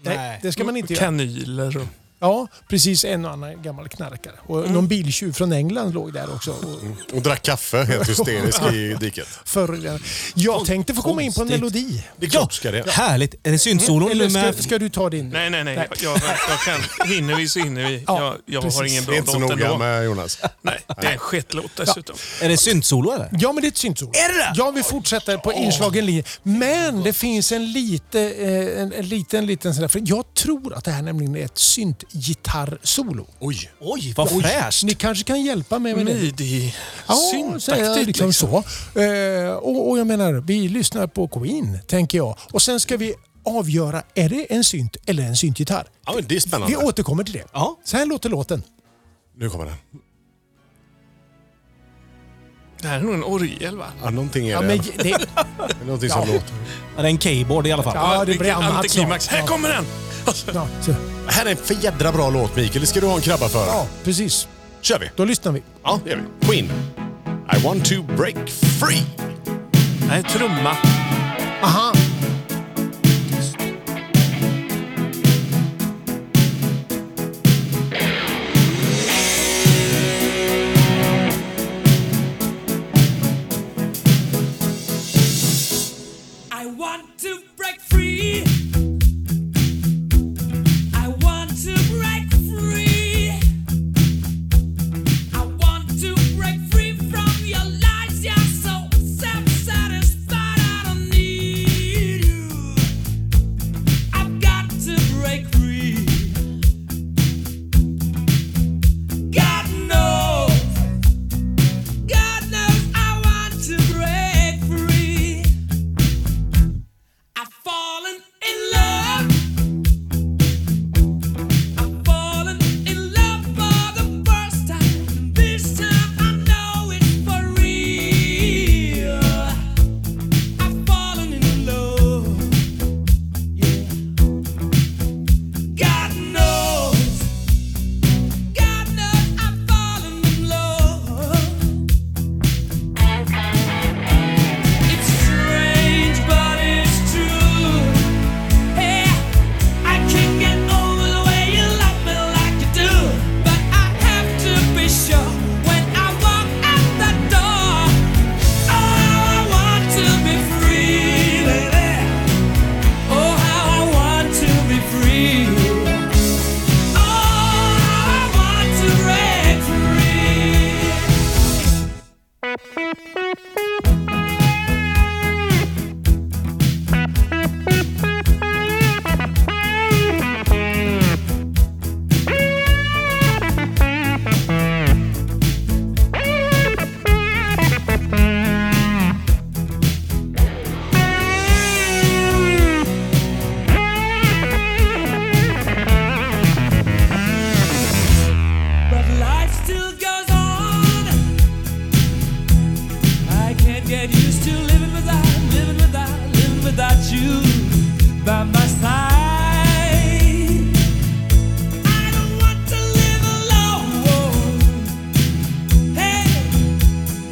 S2: Nej, det ska man inte göra.
S4: Kanyler och...
S2: Ja, precis. En och annan gammal knarkare. Och
S1: Mm.
S2: någon biltjuv från England låg där också. Och
S3: Och drack kaffe helt hysterisk i diket.
S2: förr, jag tänkte få komma in på en
S1: konstigt.
S2: melodi.
S3: Det är klart ska det.
S1: Härligt! Är det syntsolon
S2: Mm. Eller
S1: du med?
S2: ska, ska du ta din?
S4: Nej, nej, nej. Jag, jag, jag kan. Hinner vi så hinner vi.
S2: Ja,
S4: jag jag har
S2: precis.
S4: ingen
S3: Det är
S4: bra
S3: inte så
S4: låt
S3: noga
S4: ändå.
S3: med Jonas.
S4: Nej, det är en skitlåt dessutom.
S1: Är det syntsolo eller?
S2: Ja, men det är ett syntsolo.
S1: Är det?
S2: Ja, vi fortsätter på inslagen linje. Men det finns en, lite, eh, en, en liten, liten sån där... För jag tror att det här nämligen är ett syntgitarrsolo.
S3: Oj.
S1: Oj, vad fräscht!
S2: Ni kanske kan hjälpa mig med
S1: Mm.
S2: det?
S4: Midi.
S2: Ja, så är det
S4: Syntaktigt
S2: liksom,
S4: liksom.
S2: så. Eh, och, och jag menar, vi lyssnar på Queen, tänker jag. Och sen ska vi avgöra, är det en synt eller en syntgitarr?
S3: Ja, men det är
S2: Vi
S3: spännande.
S2: återkommer till det.
S1: Ja.
S2: Så här låter låten.
S3: Nu kommer den.
S4: Det här är nog en orgel va?
S3: Ja, någonting är
S2: Ja,
S3: det.
S2: men,
S3: Det
S2: det,
S3: är Någonting som
S2: Ja.
S3: låter.
S1: Ja, det är en keyboard i alla fall.
S2: ja, det blir
S4: Vilken
S2: annat
S4: antiklimax.
S2: snart.
S4: Här kommer den!
S2: Ja, så,
S3: Det här är en för jädra bra låt Mikael. Det ska du ha en krabba för.
S2: ja, precis.
S3: Kör vi.
S2: Då lyssnar vi.
S3: Ja, det gör vi. Queen. I want to break free.
S4: Nej, trumma.
S2: Aha!
S8: oh, Oh, Oh, But life still goes on. I can't get used to living without, living without, living without you by my side. I don't want to live alone. Hey,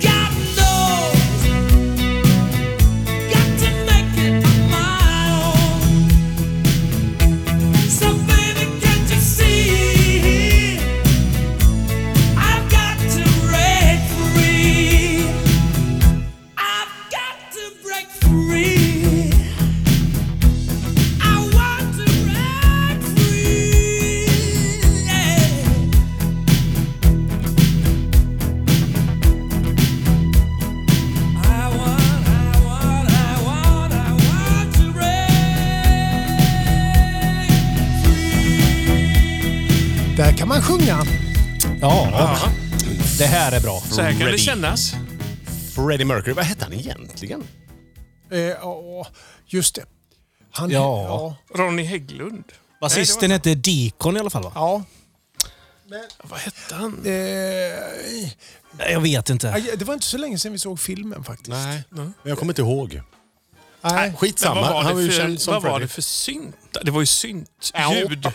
S8: God knows, got to make it on my own. So baby, can't you see? I've got to break free. I've got to break free. I want to break free. I want, I want, I want, I want to break free.
S2: Där kan man sjunga.
S1: Ja, det här är bra.
S4: Så här kan det
S3: Ready.
S4: kännas.
S3: Freddie Mercury, vad hette han egentligen?
S2: Eh, ja, just det. Han,
S1: Ja.
S4: Ronny Hägglund.
S1: Basisten hette Deacon i alla fall va?
S2: ja.
S4: Vad hette han?
S2: Eh,
S1: Nej, Jag vet inte.
S2: aj, det var inte så länge sedan vi såg filmen faktiskt.
S3: Nej, men jag kommer inte ihåg.
S2: Nej.
S4: Men
S3: Skitsamma,
S4: vad var,
S3: han var ju
S4: det
S3: känd
S4: för,
S3: som
S4: vad var det
S3: Freddie.
S4: för synt? Det var ju syntljud.
S2: Ja, det är ju
S4: Kanske.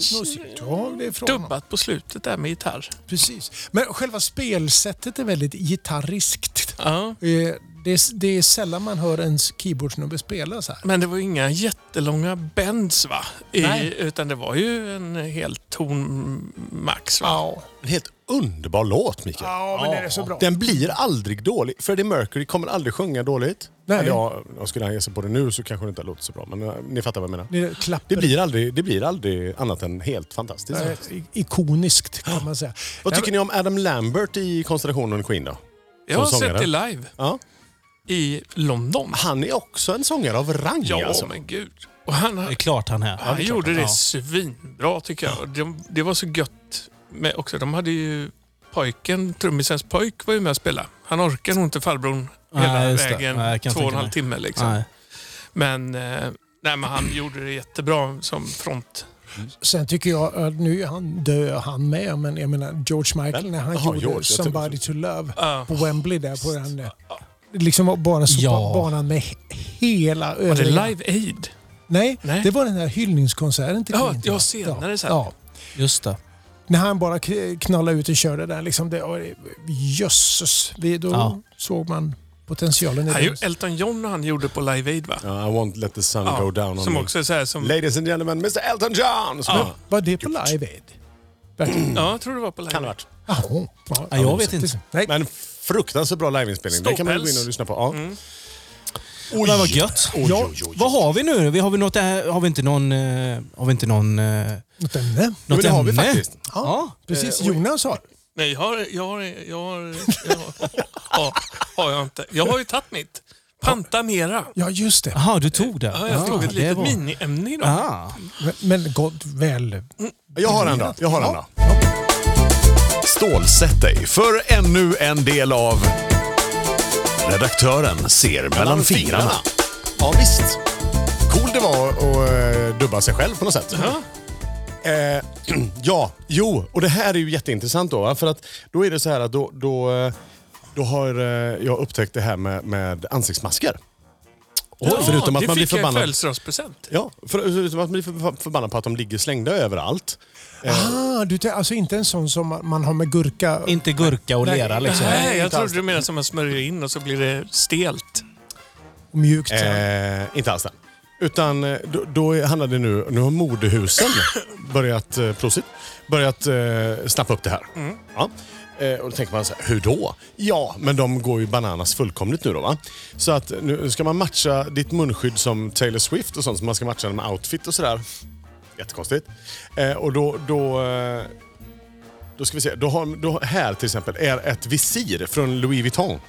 S2: snurrigt. Ja, det är frågan. om.
S4: Dubbat på slutet där med gitarr.
S2: Precis. Men själva spelsättet är väldigt gitarriskt.
S4: Ja.
S2: Eh, Det är, det är sällan man hör en keyboardsnubbe spela så här.
S4: Men det var ju inga jättelånga bends va? I,
S2: Nej.
S4: utan det var ju en hel ton max va?
S2: Ja,
S3: En helt underbar låt, Mikael.
S2: ja men den är så bra.
S3: Den blir aldrig dålig. Freddie Mercury kommer aldrig sjunga dåligt.
S2: Nej.
S3: Eller Ja, jag skulle han ge sig på det nu så kanske det inte låter så bra, men eh, ni fattar vad jag menar.
S2: Det klappar.
S3: Det blir aldrig, det blir aldrig annat än helt fantastiskt.
S2: Eh, i- ikoniskt kan man säga.
S3: Vad
S2: Ja,
S3: tycker ni om Adam Lambert i konstellationen Queen då?
S4: Jag har
S3: Som
S4: sett det
S3: sångare.
S4: live
S3: Ja.
S4: i London.
S3: Han är också en sångare av rang
S4: Ja,
S3: alltså.
S4: men gud. Och han,
S1: Det
S4: han,
S1: är klart han är.
S4: han gjorde det
S1: Ja.
S4: svinbra tycker jag. Det, det var så gött. Men också, de hade ju pojken, trummisens pojk var ju med och spela. Han orkar nog inte farbrorn hela
S1: Nej, just det.
S4: vägen,
S1: Nej, jag kan
S4: två och en
S1: tänka
S4: halv
S1: mig.
S4: timme liksom.
S1: Nej.
S4: Men, eh, nej, men han gjorde det jättebra som front.
S2: Sen tycker jag att nu är han dö han med, men jag menar George Michael när han
S3: Jaha,
S2: gjorde
S3: George, jag tror-
S2: Somebody to Love
S4: Ja.
S2: på Wembley där på den. eh, Liksom var bara sopa
S1: Ja.
S2: banan med he- hela
S4: Var det
S2: övriga-
S4: Live Aid?
S2: Nej,
S4: Nej.
S2: det var den här hyllningskonserten till
S4: Ja,
S2: Queen, tror
S4: ja,
S2: jag.
S4: senare så här.
S2: Ja.
S1: Just det.
S2: När han bara k- knallade ut och körde där. Liksom det, och, jösses, det, då
S1: Ja.
S2: såg man potentialen i
S4: Han,
S2: det.
S4: gjorde- Elton John och han gjorde på Live Aid va?
S3: Ja, I won't let the sun
S4: Ja,
S3: go down on
S4: som
S3: me.
S4: också är så här som...
S3: Ladies and gentlemen, Mr Elton John! Som
S4: Ja.
S2: Var det på Live Aid? Verkligen.
S4: Ja, jag tror det var på Live
S3: Kan det
S4: Aid.
S3: ha varit.
S2: Jaha. Ja,
S1: Mm. Ja, jag vet inte.
S2: Nej.
S3: Men fruktansvärt bra liveinspelning. Den kan man gå
S4: Ståpäls. Mm.
S3: in och lyssna på. Ja.
S1: Oj. Men vad gött.
S3: Oj,
S1: ja,
S3: oj, oj, oj.
S1: Vad har vi nu? Vi har, vi något, äh, har vi inte någon... eh, har vi inte någon... eh,
S2: Något ämne?
S1: något
S3: men det har vi
S1: ämne?
S3: faktiskt.
S1: Ja. eh,
S2: Precis, Jonas har.
S4: Nej, jag har... Jag har, jag har, jag har, ja, har jag inte. Jag har ju tagit mitt. Pantamera.
S2: Ja, just det.
S1: Jaha, du tog det. Ah,
S4: Ja, jag tog ett
S1: det
S4: litet
S1: var-
S4: miniämne idag.
S1: Ah.
S2: Men gott väl.
S3: Jag har en
S4: Mm.
S3: då. Jag har en då.
S9: Stålsätt dig för ännu en del av Redaktören ser mellan fingrarna.
S3: Ja, visst. Cool det var att eh, dubba sig själv på något sätt. Eh, ja, jo, och det här är ju jätteintressant då. va? För att då är det så här att då, då, eh, då har eh, jag upptäckt det här med, med ansiktsmasker. Och förutom att
S4: det
S3: man blir
S4: fick jag i
S3: förbannad...
S4: födelsedagspresent.
S3: Ja, för- förutom att man blir förba- förbannad på att de ligger slängda överallt.
S2: Ah, du, tar- alltså inte en sån som man- man har med gurka.
S1: Inte gurka och
S2: Nej.
S1: lera liksom.
S4: Nej, jag
S3: inte alls.
S4: trodde du menade som man smörjer in och så blir det stelt.
S2: Mjukt. Äh.
S3: Eh, inte alls den. Utan eh, då, då handlar det nu, nu har modehusen börjat, eh, prosit, börjat eh, snappa upp det här. Ja. Eh, och då tänker man så här, hur då? Ja, men de går ju bananas fullkomligt nu då va. Så att nu ska man matcha ditt munskydd som Taylor Swift och sånt, så man ska matcha den med outfit och sådär. Jättekonstigt. Eh, och då, då, eh, Då ska vi se. Då har, då, här till exempel är ett visir från Louis Vuitton.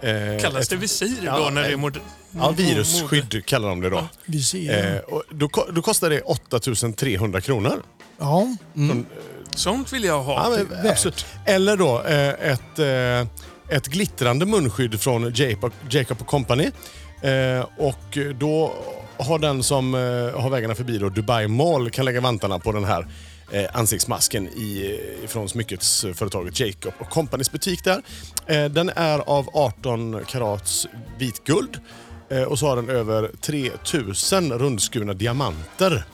S3: Eh,
S4: Kallas
S3: ett-
S4: det visir då
S3: Ja,
S4: när det är
S3: eh,
S4: mod-
S3: Ja,
S4: mod-
S3: virusskydd kallar de det då.
S2: Vi ser.
S3: Eh, och då, ko- då kostar det 8300 kronor.
S2: Ja.
S4: mode? Sånt vill jag ha.
S3: Ja, men absolut. Eller då eh, ett, eh, ett glittrande munskydd från Jacob, Jacob Company. Eh, och då har den som eh, har vägarna förbi då, Dubai Mall kan lägga vantarna på den här eh, ansiktsmasken i, från smyckesföretaget Jacob Companys butik där. Eh, den är av 18 karats vitguld eh, och så har den över 3000 rundskurna diamanter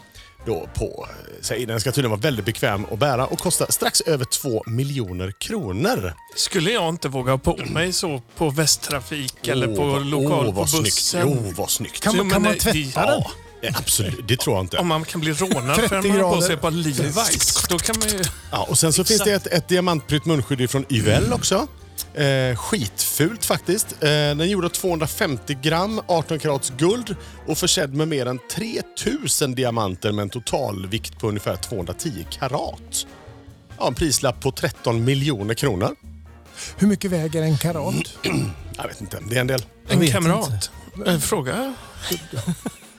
S3: då på sig. Den ska tydligen vara väldigt bekväm att bära och kosta strax över 2 miljoner kronor.
S4: Skulle jag inte våga ha på mig så på västtrafik eller
S3: Åh,
S4: på
S3: vad-
S4: lokal
S3: åh,
S4: på
S3: vad
S4: bussen?
S3: Snyggt. Oh, vad snyggt.
S2: Kan,
S4: Jo,
S2: man, kan
S4: men,
S2: man
S4: eh,
S2: tvätta
S4: i-
S2: den?
S3: Ja, eh, absolut. Det tror jag inte.
S4: Om man kan bli rånad för att
S2: 30
S4: man har på
S2: grader.
S4: sig ett par Levi's. Då kan man ju...
S3: Ja, och sen så finns det ett, ett diamantprytt munskydd från Yvel också. Eh, skitfult faktiskt. Eh, den är gjord av 250 gram 18 karats guld och försedd med mer än 3000 diamanter med en totalvikt på ungefär 210 karat. Ja, en prislapp på 13 miljoner kronor.
S2: Hur mycket väger en karat?
S3: Jag vet inte, det är en del.
S4: En
S1: vet
S4: kamrat. Eh, Fråga.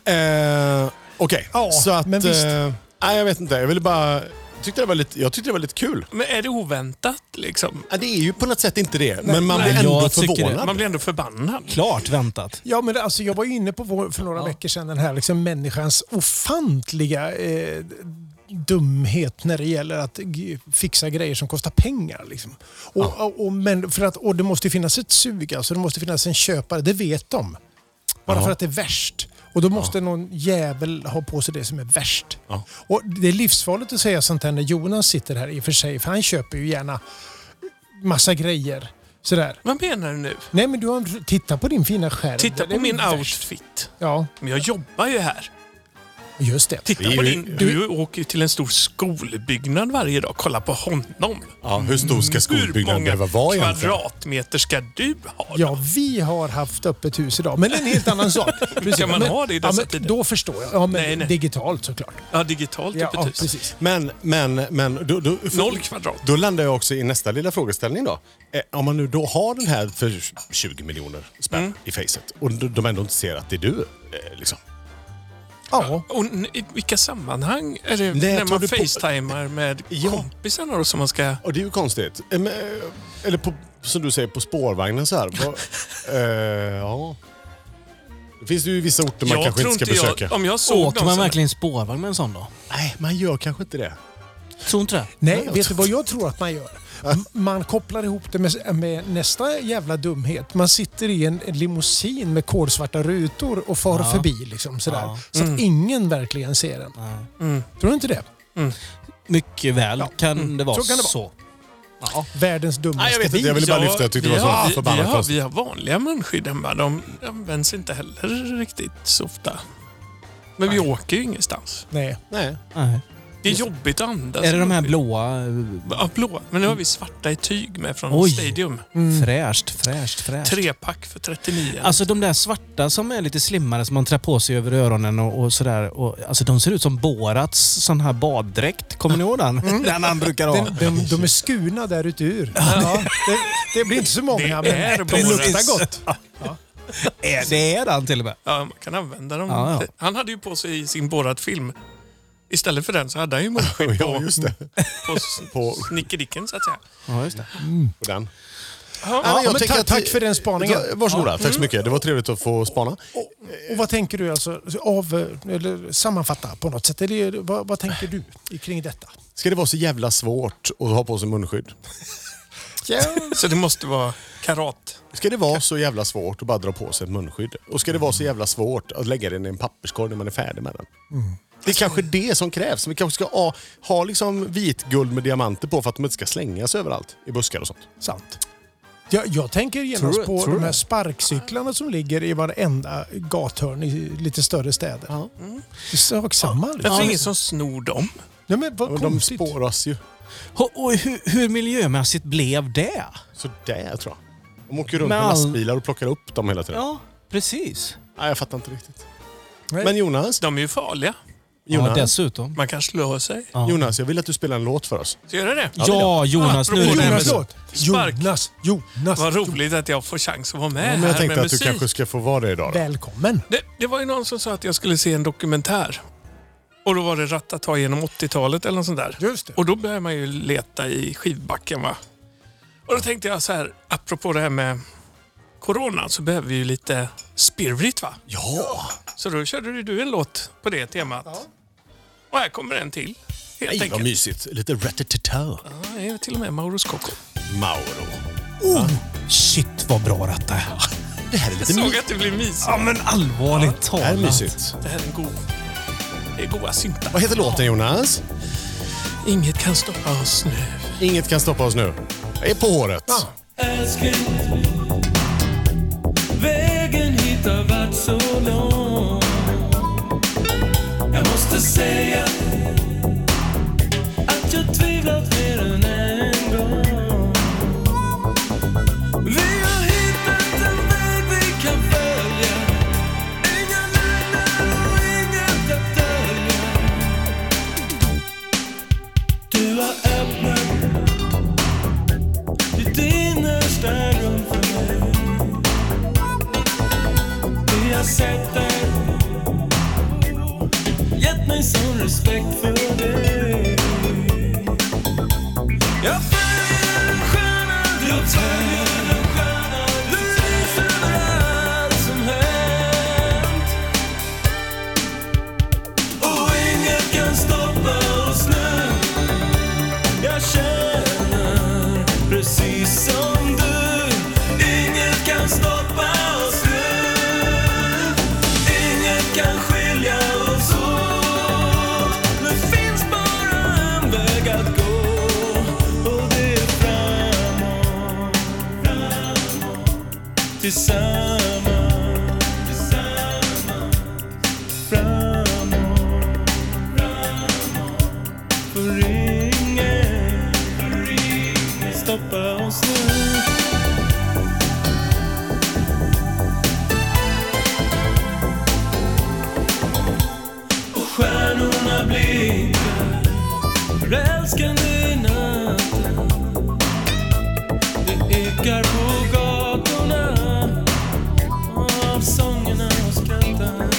S3: Eh, Okej,
S2: Ja,
S3: så att...
S2: men visst.
S3: eh, nej, jag vet inte. Jag ville bara... Tyckte det var lite, jag tyckte det var lite kul.
S4: Men är det oväntat liksom?
S3: Ja, det är ju på något sätt inte det, men man
S1: Nej.
S3: blir ändå
S1: Jag tycker det.
S3: förvånad.
S4: Man blir ändå förbannad.
S1: Klart väntat.
S2: Ja, men det- alltså, jag var ju inne på vår, för några veckor sedan den här liksom, människans ofantliga eh, dumhet när det gäller att g- fixa grejer som kostar pengar. Liksom. Och, och, och, men för att, och det måste ju finnas ett sug, alltså, det måste finnas en köpare, det vet de. Bara för att det är värst. Och då måste någon jävel ha på sig det som är värst.
S3: Ja.
S2: Och det är livsfarligt att säga sånt här när Jonas sitter här i och för sig, för han köper ju gärna massa grejer. Sådär.
S4: Vad menar du nu?
S2: Nej men du har, titta på din fina skärm.
S4: Titta
S2: Det är
S4: på min
S2: värst.
S4: outfit.
S2: Ja,
S4: Men jag jobbar ju här.
S2: just det.
S4: Titta
S3: Det är
S4: på
S3: ju-
S4: din... Du åker ju till en stor skolbyggnad varje dag. Kolla på honom.
S3: Ja, Mm. hur stor ska
S4: Hur
S3: skolbyggnaden
S4: många
S3: behöva vara egentligen?
S4: kvadratmeter ska du ha? då?
S2: Ja, vi har haft öppet hus idag, men det är en helt annan sak. Precis.
S4: Kan man
S2: men,
S4: ha det i dessa
S2: ja, men
S4: tider?
S2: Då förstår jag. Ja, men
S4: Nej, nej.
S2: digitalt såklart.
S4: ja digitalt typ
S2: Ja,
S4: ett hus.
S2: precis.
S3: Men, men, men... Då, då, för-
S4: Noll kvadrat.
S3: Då landar jag också i nästa lilla frågeställning då. Eh, om man nu då har den här för 20 miljoner spänn i facet och de de ändå inte ser att det är du. Eh, liksom.
S2: Ja,
S4: Och n- i vilka sammanhang? Är det
S3: Nej,
S4: när
S3: tar
S4: man
S3: du på-
S4: facetimar med
S3: Ja.
S4: kompisarna då som man ska...
S3: Och det är ju konstigt. Eh, men, eh, eller på, som du säger, på spårvagnen så här. Vad- eh, ja. Det finns ju vissa orter man kanske inte ska besöka.
S4: jag... Om jag såg
S1: Åker
S4: någon
S1: man
S4: som-
S1: verkligen spårvagn med en sån då?
S3: Nej, man gör kanske inte det.
S1: Tror inte det.
S2: nej, vet du vad jag tror att man gör? M- Man kopplar ihop det med, med nästa jävla dumhet. Man sitter i en en limousin med kolsvarta rutor och far förbi liksom sådär.
S1: Ja.
S2: Så att
S4: Mm.
S2: ingen verkligen ser en. Tror du inte det?
S1: Mycket väl kan det vara
S2: så kan det vara.
S1: så.
S2: Världens dummaste
S3: Nej, jag vet inte.
S2: bil.
S3: Jag ville bara
S4: Ja,
S3: lyfta. Jag tyckte
S4: vi
S3: det var
S4: har-
S3: så förbannat
S4: vi, vi har,
S3: konstigt.
S4: vi har vanliga munskydd hemma. De används inte heller riktigt så ofta. Men vi åker ju ingenstans.
S2: Nej.
S3: Nej.
S1: Nej.
S4: Det är jobbigt att andas.
S1: Är det de här
S4: munskydd.
S1: blåa? eh,
S4: Ja, ah, blå. Men nu har vi svarta i tyg med från
S1: Oj.
S4: Stadium.
S1: Fräscht, fräscht, fräscht.
S4: Trepack för 39.
S1: Alltså de där svarta som är lite slimmare som man trär på sig över öronen och, och sådär. Och, alltså de ser ut som Borats sån här baddräkt. Kommer ni ihåg den? Den han brukar ha.
S2: Den, de, de är skurna där utur. Ja, det, det blir inte så många,
S4: Det
S2: men
S4: är
S2: de
S4: Boris.
S2: luktar gott.
S1: Är- Det är den till och med.
S4: Ja, man kan använda dem.
S1: Ja, ja.
S4: Han hade ju på sig i sin Borat-film. Istället för den så hade han ju munskydd på,
S3: Ja, just det.
S4: på, på snickedicken så att säga.
S1: Ja, just det.
S3: På den.
S4: Ja,
S2: men ta- tack för den spaningen. Mm.
S3: Varsågoda. Tack så mycket. Det var trevligt att få spana.
S2: Och vad tänker du alltså, av, eller sammanfatta på något sätt? Eller, vad, vad tänker du kring detta?
S3: Ska det vara så jävla svårt att ha på sig munskydd?
S4: Så det måste vara karat.
S3: Ska det vara så jävla svårt att bara dra på sig ett munskydd? Och ska det vara så jävla svårt att lägga den i en papperskorg när man är färdig med den? Det är kanske det som krävs. Vi kanske ska ha, ha liksom vitguld med diamanter på för att de inte ska slängas överallt i buskar och sånt.
S2: Sant. Jag, jag tänker genast
S1: Tror du-
S2: på
S1: tror du
S2: de här
S1: det?
S2: sparkcyklarna som ligger i varenda gathörn i lite större städer. Det är Sak samma.
S4: Det är
S2: Ja,
S4: ingen som snor dem.
S2: Nej, men vad
S3: Men de
S2: konstigt.
S3: spåras ju.
S1: Och, och hur, hur miljömässigt blev det?
S3: Så där tror jag. De åker runt
S1: Men
S3: med
S1: all-
S3: lastbilar och plockar upp dem hela tiden.
S1: Ja, precis.
S3: Nej, jag fattar inte riktigt.
S2: Nej.
S3: Men Jonas,
S4: De är ju farliga.
S1: Ja, dessutom.
S4: Man kanske slår sig.
S1: Ja.
S3: Jonas, jag vill att du spelar en låt för oss.
S4: Ska jag göra det?
S1: Ja, Jonas. Nu är det
S4: Apropå
S1: med-
S2: Jonas låt.
S4: Spark.
S2: Jonas, Jonas.
S4: Vad roligt att jag får chans att vara med
S3: Ja, men
S4: här
S3: jag tänkte
S4: med
S3: att du
S4: musik.
S3: kanske ska få vara det idag. Då.
S2: Välkommen.
S4: Det, det var ju någon som sa att jag skulle se en dokumentär. Och då var det Ratata genom 80-talet eller något sånt där.
S2: Just det.
S4: Och då började man ju leta i skivbacken va. Och då tänkte jag så här, apropå det här med corona så behöver vi ju lite spirit va? Ja! Så då körde ju du en låt på det temat. Och här kommer en till. Helt
S3: Nej, vad
S4: enkelt.
S3: mysigt. Lite ratatata.
S4: Ja, det är till och med Mauro Scocco.
S3: Mauro.
S1: Shit vad bra detta är.
S3: Det här är lite
S4: Jag såg
S3: mysigt.
S4: att det blev mysigt.
S1: Ja, men allvarligt
S3: Det här är
S1: talat.
S3: mysigt.
S4: Det här är en god... Det är goa syntar.
S3: Vad heter låten Jonas?
S4: Inget kan stoppa oss nu.
S3: Inget kan stoppa oss nu. Jag är på håret.
S8: Älskling, vägen hit har varit så lång. Jag måste säga att jag tvivlat mer än en gång. Vi har hittat en väg vi kan följa. Inga lögner och inget att dölja. Du har öppnat ditt innersta rum för mig. Vi har sett dig, gett mig sån respekt för dig. Jag följer en stjärna, jag följer en stjärna. Du lyser över allt som hänt. Och inget kan stoppa oss nu. Jag känner precis som du Inget kan stoppa oss nu Inget kan skilja oss åt Nu finns bara en väg att gå Och det är framåt Framåt. Tillsammans Tillsammans Framåt för ingen, för ingen stoppa oss nu. Och stjärnorna blinkar, förälskande i natten. Det ekar på gatorna av sångerna och skratten.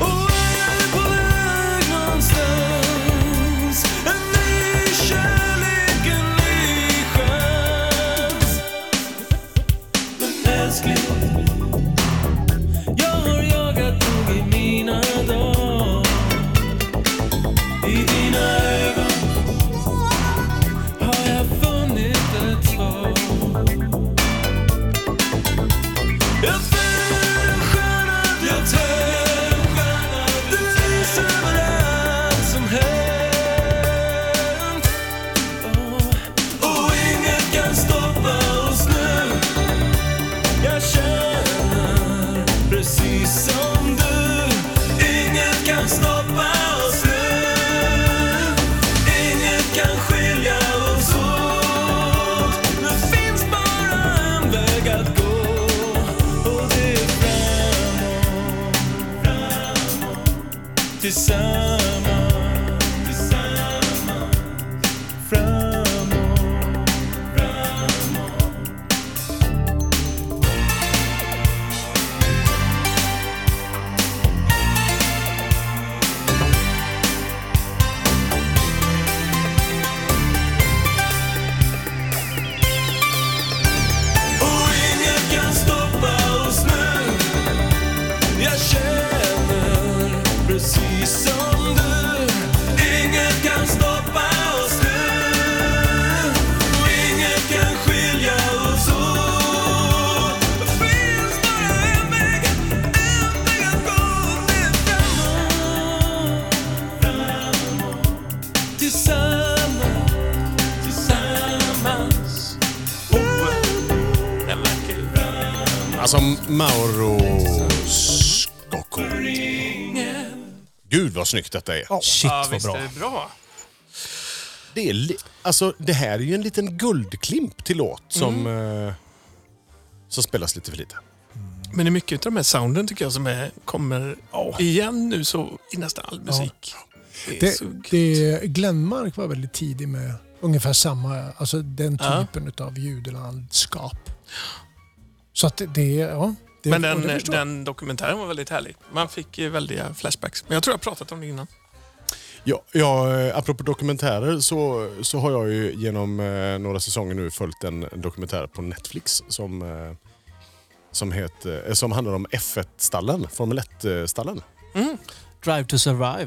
S8: Och är på väg någonstans. En ny kärlek, en ny chans. Men älskling, jag har jagat nog i mina dagar. I dina ögon har jag funnit ett svar. Jag följer en stjärna, jag följer en stjärna. Du lyser över allt som hänt. Åh, Och inget kan stoppa oss nu. Jag känner precis som du. Inget kan stoppa oss nu. Inget kan skilja oss åt. Nu finns bara en väg att gå. Och det är framåt, framåt. Tillsammans, tillsammans. Framåt, framåt. Och inget kan stoppa oss nu. Jag känner precis som du. Inget kan stoppa oss nu. Och inget kan skilja oss åt. Det finns bara en väg, en väg att gå. Det är framåt, framåt. Tillsammans, tillsammans.
S4: Oh,
S3: Alltså Mauro Scocco. Gud vad snyggt detta är.
S1: Shit
S4: Ja,
S1: vad
S4: visst
S1: bra.
S4: är det bra.
S3: Det, är li- alltså, det här är ju en liten guldklimp till låt som, eh, som spelas lite för lite.
S4: Men det är mycket av de här sounden tycker jag som är, kommer igen nu så i nästan all musik. Det är
S2: Det,
S4: så gött.
S2: det, Glenmark var väldigt tidig med ungefär samma, alltså den
S4: Ja.
S2: typen av ljudlandskap. Så att det- det, ja. Det,
S4: Men
S2: och
S4: den, eh,
S2: det förstår jag.
S4: den dokumentären var väldigt härlig. Man fick ju väldiga flashbacks. Men jag tror jag har pratat om det innan.
S3: Ja, ja, eh, apropå dokumentärer så, så har jag ju genom eh, några säsonger nu följt en dokumentär på Netflix som, eh, som, heter, eh, som handlar om F1-stallen, Formel 1-stallen.
S1: Drive to survive.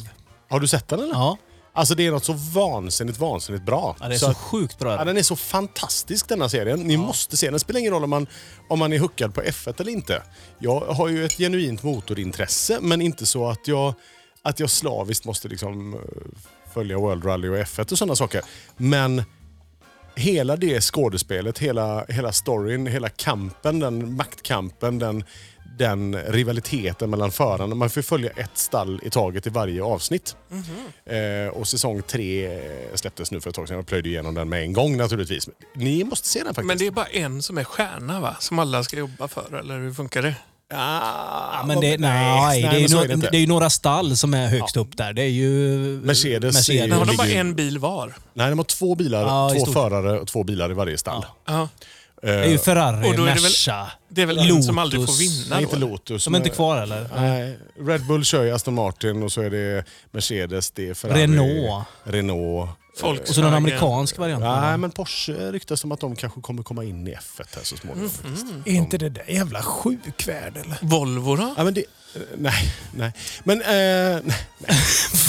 S3: Har du sett den eller?
S1: Ja,
S3: Alltså det är något så vansinnigt, vansinnigt bra.
S1: ja det är
S3: så
S1: så,
S3: att-
S1: sjukt bra.
S3: ja, den är så fantastisk denna serien. Ni måste se den. Det spelar ingen roll om man, om man är hookad på F1 eller inte. Jag har ju ett genuint motorintresse, men inte så att jag, att jag slaviskt måste liksom eh, följa World Rally och F1 och sådana saker. Men hela det skådespelet, hela, hela storyn, hela kampen, den maktkampen, den, den rivaliteten mellan förarna. Man får följa ett stall i taget i varje avsnitt.
S4: Mhm.
S3: Eh, och säsong tre eh, släpptes nu för ett tag sedan. Jag plöjde igenom den med en gång naturligtvis. Ni måste se den faktiskt.
S4: Men det är bara en som är stjärna va? Som alla ska jobba för, eller hur funkar det?
S3: Ah,
S1: Ja, men det, nej, det, är
S3: men
S1: ju
S3: så
S1: no-
S3: är det inte.
S1: det är ju några stall som är högst upp där. Det är ju...
S3: Mercedes är ju-
S4: Men har de bara
S3: ligger-
S4: en bil var?
S3: Nej, de har två bilar,
S1: Ja, i
S3: två
S1: stort.
S3: förare och två bilar i varje stall. Eh,
S4: Ja.
S1: Det är ju Ferrari,
S4: Och då är det väl-
S1: Merca,
S4: Det är väl en
S1: Lotus.
S4: som aldrig får vinna
S3: Nej,
S4: då?
S3: inte
S4: eller?
S3: Lotus.
S1: De är inte
S3: men-
S1: kvar eller?
S3: Nej, Red Bull kör ju Aston Martin och så är det Mercedes, det är Ferrari,
S1: Renault.
S3: Renault.
S4: Volkswagen.
S1: Och så någon amerikansk variant.
S3: Nej, men Porsche ryktas som att de kanske kommer komma in i F1 här så småningom. faktiskt.
S2: Är inte det där jävla sjukvärd eller?
S4: Volvo då?
S3: Ja, men det, eh, nej, nej. Men... Eh, nej, Eh,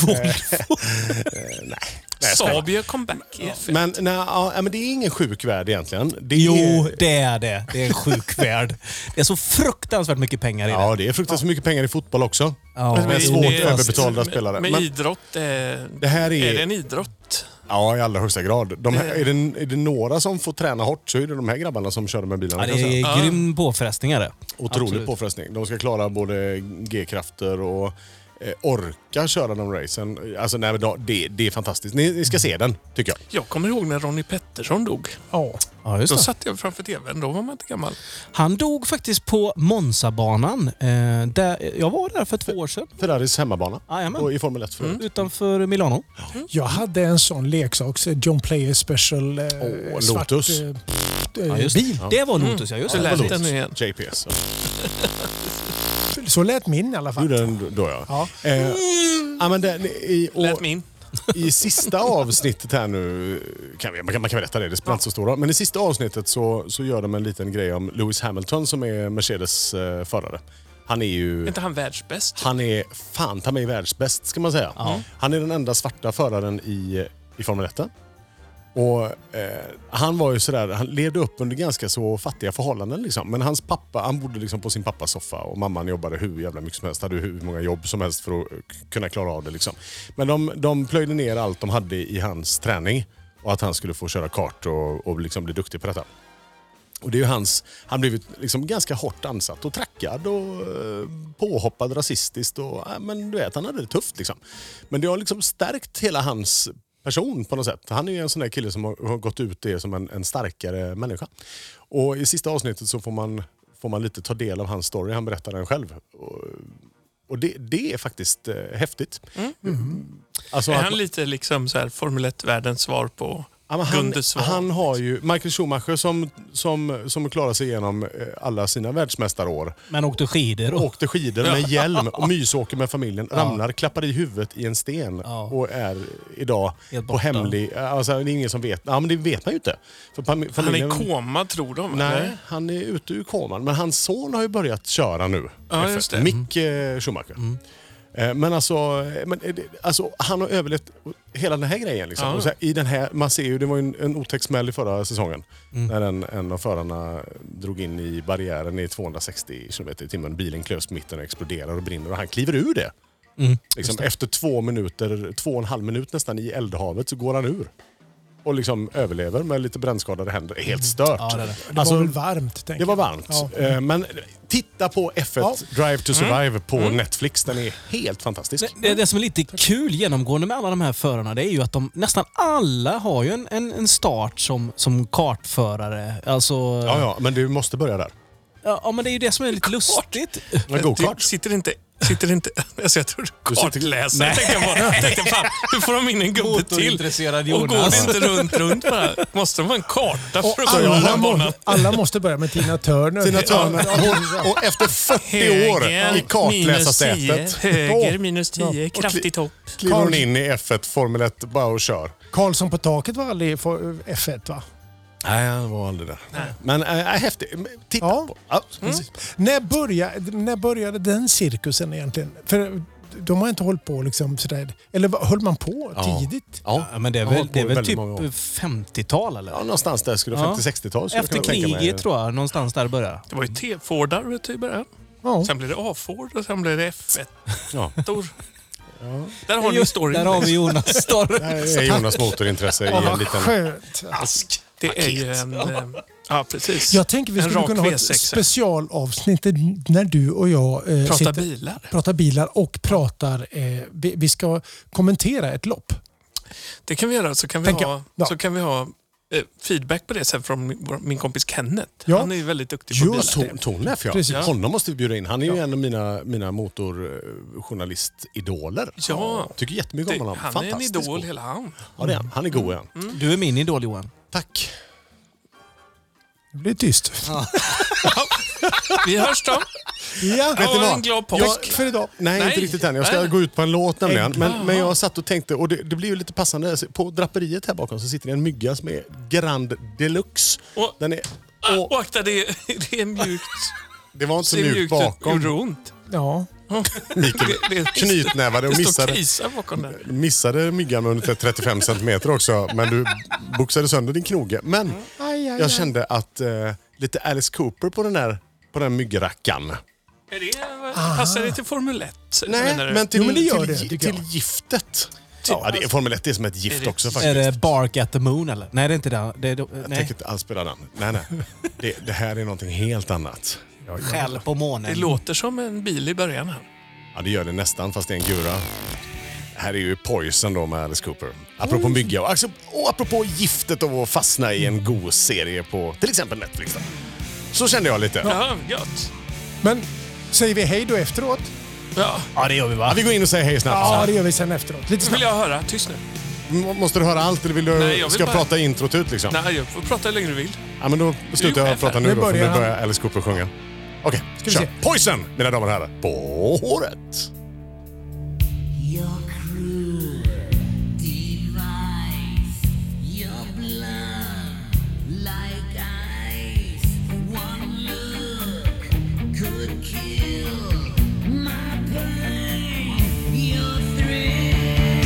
S1: Volvo.
S3: nej, jag skojar.
S4: Saabia comeback i F1.
S3: Men, nej, ja, men det är ingen sjuk värld egentligen. Det är,
S1: Jo, det är det. Det är en sjuk värld. Det är så fruktansvärt mycket pengar i det.
S3: Ja, det är fruktansvärt mycket pengar i fotboll också.
S1: Ja,
S3: men
S1: det är
S3: svårt
S1: det-
S3: överbetalda
S4: med-
S3: spelare.
S4: Med
S3: Men-
S4: idrott, är,
S3: Det här är-
S4: är det en idrott?
S3: Ja, i allra högsta grad. De här, är, det, är det några som får träna hårt så är det de här grabbarna som körde med bilarna.
S1: Ja,
S3: kan jag säga.
S1: det är grym påfrestning är det.
S3: Otrolig
S1: Absolut.
S3: påfrestning. De ska klara både G-krafter och eh, orka köra de racen. Alltså, nej, men då- det, det är fantastiskt. Ni, ni ska se den, tycker jag.
S4: Jag kommer ihåg när Ronnie Pettersson dog.
S2: Ja.
S1: Ja,
S4: Då
S3: Alltså.
S1: just det.
S4: satt jag framför tvn, då var man inte gammal.
S1: Han dog faktiskt på Monza-banan. Eh, där, jag var där för två
S3: Mm.
S1: år sedan.
S3: Ferraris hemmabana
S1: Jajamän. Mm.
S3: och i Formel 1 för övrigt.
S1: Utanför Milano.
S2: Jag hade en sån leksak, så John Player Special eh,
S3: Åh,
S2: svart
S3: Lotus.
S2: eh, pff, eh,
S1: Ja, just det.
S2: bil.
S1: det var
S3: Mm.
S1: Lotus, ja. Just
S4: Så
S1: det.
S4: lät
S1: Precis.
S4: den igen.
S3: JPS.
S2: Så lät min i alla fall.
S3: Gjorde den då, ja.
S2: Ja.
S3: Eh, ja, men den, i, och,
S4: Lät min.
S3: I sista avsnittet här nu, kan vi, man, kan, man kan berätta det, det spelar inte så stor roll. Men i sista avsnittet så, så gör de en liten grej om Lewis Hamilton som är Mercedes eh, förare. Han är
S4: Är
S3: ju...
S4: inte han världsbäst?
S3: Han är fan ta mig världsbäst ska man säga. Han är den enda svarta föraren i, i Formel 1. Och, eh, han var ju sådär, han levde upp under ganska så fattiga förhållanden. Liksom. Men hans pappa, han bodde liksom på sin pappas soffa och mamman jobbade hur jävla mycket som helst. Hade hur många jobb som helst för att eh, kunna klara av det. Liksom. Men de, de plöjde ner allt de hade i hans träning och att han skulle få köra kart och, och liksom bli duktig på detta. Och det är ju hans, han blev ju liksom ganska hårt ansatt och trackad och eh, påhoppad rasistiskt. Och, ja, men du vet, han hade det tufft. Liksom. Men det har liksom stärkt hela hans person på något sätt. Han är ju en sån där kille som har, har gått ut det som en, en starkare människa. Och i sista avsnittet så får man, får man lite ta del av hans story. Han berättar den själv. Och, och det, det är faktiskt eh, häftigt. Alltså
S4: Är
S3: att-
S4: han lite liksom så här Formel 1-världens svar på
S3: Ja, men han,
S4: Gunde Svan? liksom.
S3: han har ju Michael Schumacher som, som, som klarar sig igenom eh, alla sina världsmästarår.
S1: Men åkte skidor
S4: Oh.
S1: och...
S3: Åkte skidor med hjälm och mysåker med familjen. Ramlar, klappar i huvudet i en sten
S1: Ja.
S3: och är idag
S1: Helt
S3: på
S1: borta.
S3: hemlig... Alltså, det är ingen som vet. Ja, men det vet man ju inte. För fami-
S4: han är
S3: familjen,
S4: i koma tror de.
S3: Nej,
S4: eller?
S3: han är ute ur koman. Men hans son har ju börjat köra nu.
S4: Ja,
S3: F1.
S4: just det.
S3: Mick eh, Schumacher. Eh, Men alltså, eh, men eh, det- alltså, han har överlevt hela den här grejen. Liksom.
S4: Ja.
S3: Och så här, i den här, man ser ju, det var ju en, en otäck smäll i förra säsongen. När en, en av förarna drog in i barriären i 260 km i timmen. Bilen klövs på mitten och exploderar och brinner och han kliver ur det. Liksom, efter två minuter, två och en halv minut nästan i eldhavet så går han ur. Och liksom överlever med lite brännskadade händer. Helt stört.
S1: Ja, det är det.
S2: Det var väl varmt? tänker
S3: Alltså, Det var
S2: jag.
S3: varmt.
S2: Ja.
S3: Eh, Men titta på F1
S2: Ja. Mm.
S3: Drive to Survive på Netflix. Den är helt fantastisk.
S1: Det, det som är lite kul genomgående med alla de här förarna det är ju att de nästan alla har ju en, en, en start som, som kartförare. Alltså,
S3: Ja, ja, men du måste börja där.
S1: Ja, ja, men det är ju det som är lite lustigt.
S3: Men gokart.
S4: Du typ sitter inte... Sitter inte... Alltså jag trodde
S3: Du sitter-
S4: kartläsare. Jag tänkte bara, jag tänkte fan, hur får de in en gubbe till?
S1: Motorintresserad
S4: Och går det
S1: Jonas.
S4: inte runt, runt bara? Måste de ha en karta för att komma
S2: Alla,
S4: den
S2: må,
S4: banan?
S2: alla måste börja med Tina Turner.
S3: Tina Turner.
S2: Ja, ja,
S3: Och, och efter 40 år i kartläsarsätet.
S4: Höger
S3: då
S4: minus 10,
S3: kli-
S4: kraftigt hopp.
S3: Kliver hon in i F1 Formel 1 bara och kör.
S2: Karlsson på taket var aldrig i for- F1 va?
S3: Nej, han var aldrig där. Men äh, häftigt. Titta
S2: Ja.
S3: på. Ja, precis.
S2: När började, när började den cirkusen egentligen? För de har inte hållit på liksom sådär. Eller vad- höll man på
S3: Ja.
S2: tidigt?
S3: Ja.
S1: Ja, men det är
S3: Jag har
S1: väl,
S3: hållit på
S1: det är väl
S3: väldigt
S1: typ
S3: många år.
S1: 50-tal eller?
S3: ja, någonstans där skulle
S1: Ja.
S3: 50-60-tal. skulle jag
S1: Efter
S3: kunna tänka mig.
S1: kriget tror jag, någonstans där börjar.
S4: Det var ju T-Fordarvet i början.
S2: Ja.
S4: Sen blev det A-Ford och sen blev det F1.
S3: Ja.
S4: Stor. Där har ni
S1: Där
S4: storyn.
S1: har vi Jonas story.
S3: Här är Jonas motorintresse i
S2: Ja,
S3: en
S2: vad
S3: liten...
S2: skönt.
S4: Alltså,
S3: Ask.
S4: Det är ju en... eh, Ja, precis.
S2: Jag tänker vi
S4: En
S2: skulle
S4: rak
S2: kunna ha ett
S4: V6.
S2: specialavsnitt när du och jag eh,
S4: Prata
S2: sitter-
S4: bilar.
S2: pratar bilar och pratar... Eh, vi, vi ska kommentera ett lopp.
S4: Det kan vi göra. Så kan vi
S2: Tänker
S4: ha,
S2: jag. Ja.
S4: så kan vi ha eh, feedback på det sen från min, vår- min kompis Kenneth.
S2: Ja.
S4: Han är ju väldigt duktig på
S3: Just
S4: bilar.
S3: Tor- Tornef ja.
S2: Precis.
S3: Honom måste vi bjuda in. Han är ju en av mina, mina motorjournalistidoler.
S4: Ja.
S3: Tycker jättemycket om
S4: Det,
S3: honom.
S4: han är en
S3: Fantastisk
S4: idol Mm.
S3: bok.
S4: hela han.
S3: Ja, det är han. Han är god igen.
S1: Du är min idol Johan.
S3: Tack.
S2: Det blir tyst.
S4: Vi hörs då.
S2: Ja.
S4: Vet
S3: ni vad?
S4: En glad påsk.
S3: Tack för idag. Nej,
S4: Nej.
S3: inte riktigt än. Jag ska
S4: Nej.
S3: gå ut på en låt nämligen.
S2: Ägg.
S3: Men, men jag satt och tänkte, och det, det blir ju lite passande. På draperiet här bakom så sitter det en mygga som är Grand Deluxe.
S4: Och-
S3: Den är,
S4: Ah,
S3: och,
S4: Och akta, det, det är mjukt.
S3: det var inte så
S4: Det är
S3: mjukt
S4: mjukt
S3: bakom.
S4: Gjorde ont.
S2: Ja.
S3: Mikael
S4: Det- det-
S3: knytnävade och Mm.
S4: Det står
S3: missade,
S4: Kisa bakom där.
S3: missade myggan under 35 centimeter också. Men du boxade sönder din knoge. Men
S2: Aj, aj, aj.
S3: jag kände att eh, lite Alice Cooper på den där på den här myggrackan.
S4: Är det, passar det till Formel 1?
S3: Nej,
S4: menar du?
S3: men till,
S2: Jo, men det gör
S3: till,
S2: det, tycker
S3: till
S2: jag.
S3: giftet. Ja, det är, Formel 1 är som ett
S4: Är
S3: gift
S4: det-
S3: också
S1: Är
S3: faktiskt.
S1: det Bark at the Moon eller? Nej, det är inte det. det är,
S3: Jag
S1: nej.
S3: tänker inte alls spela den. Nej, nej. Det, det här är någonting helt annat. Ja, ja.
S1: Skäll på månen.
S4: Det låter som en bil i början. här.
S3: ja, det gör det nästan, fast det är en gura. Det här är ju Poison då med Alice Cooper. Apropå mygga och, axel- och apropå giftet och att fastna i en god serie på till exempel Netflix. Då. Så kände jag lite. Ja.
S4: Ja, gött.
S2: Men säger vi hej då efteråt?
S4: Ja,
S1: Ja, det gör vi va?
S3: vi går in och säger hej snabbt.
S2: Ja, det gör vi sen efteråt. Lite
S4: det vill
S2: snabbt.
S4: jag höra. Tyst nu.
S3: M- Måste du höra allt eller vill du,
S4: Nej, jag vill
S3: ska jag
S4: bara-
S3: prata introt ut liksom?
S4: Nej, jag får prata hur länge du vill.
S3: Ja, men då
S4: Du är
S3: slutar jag
S4: chef
S3: prata
S4: här.
S3: nu
S2: Nu
S3: då, för nu
S2: börjar han.
S3: börjar Alice Cooper sjunga. Okej,
S2: vi
S3: kör.
S2: se.
S3: Poison, mina damer och herrar. På håret!
S10: Your cruel device, your blood like ice. One look could kill my pain. Your thrill.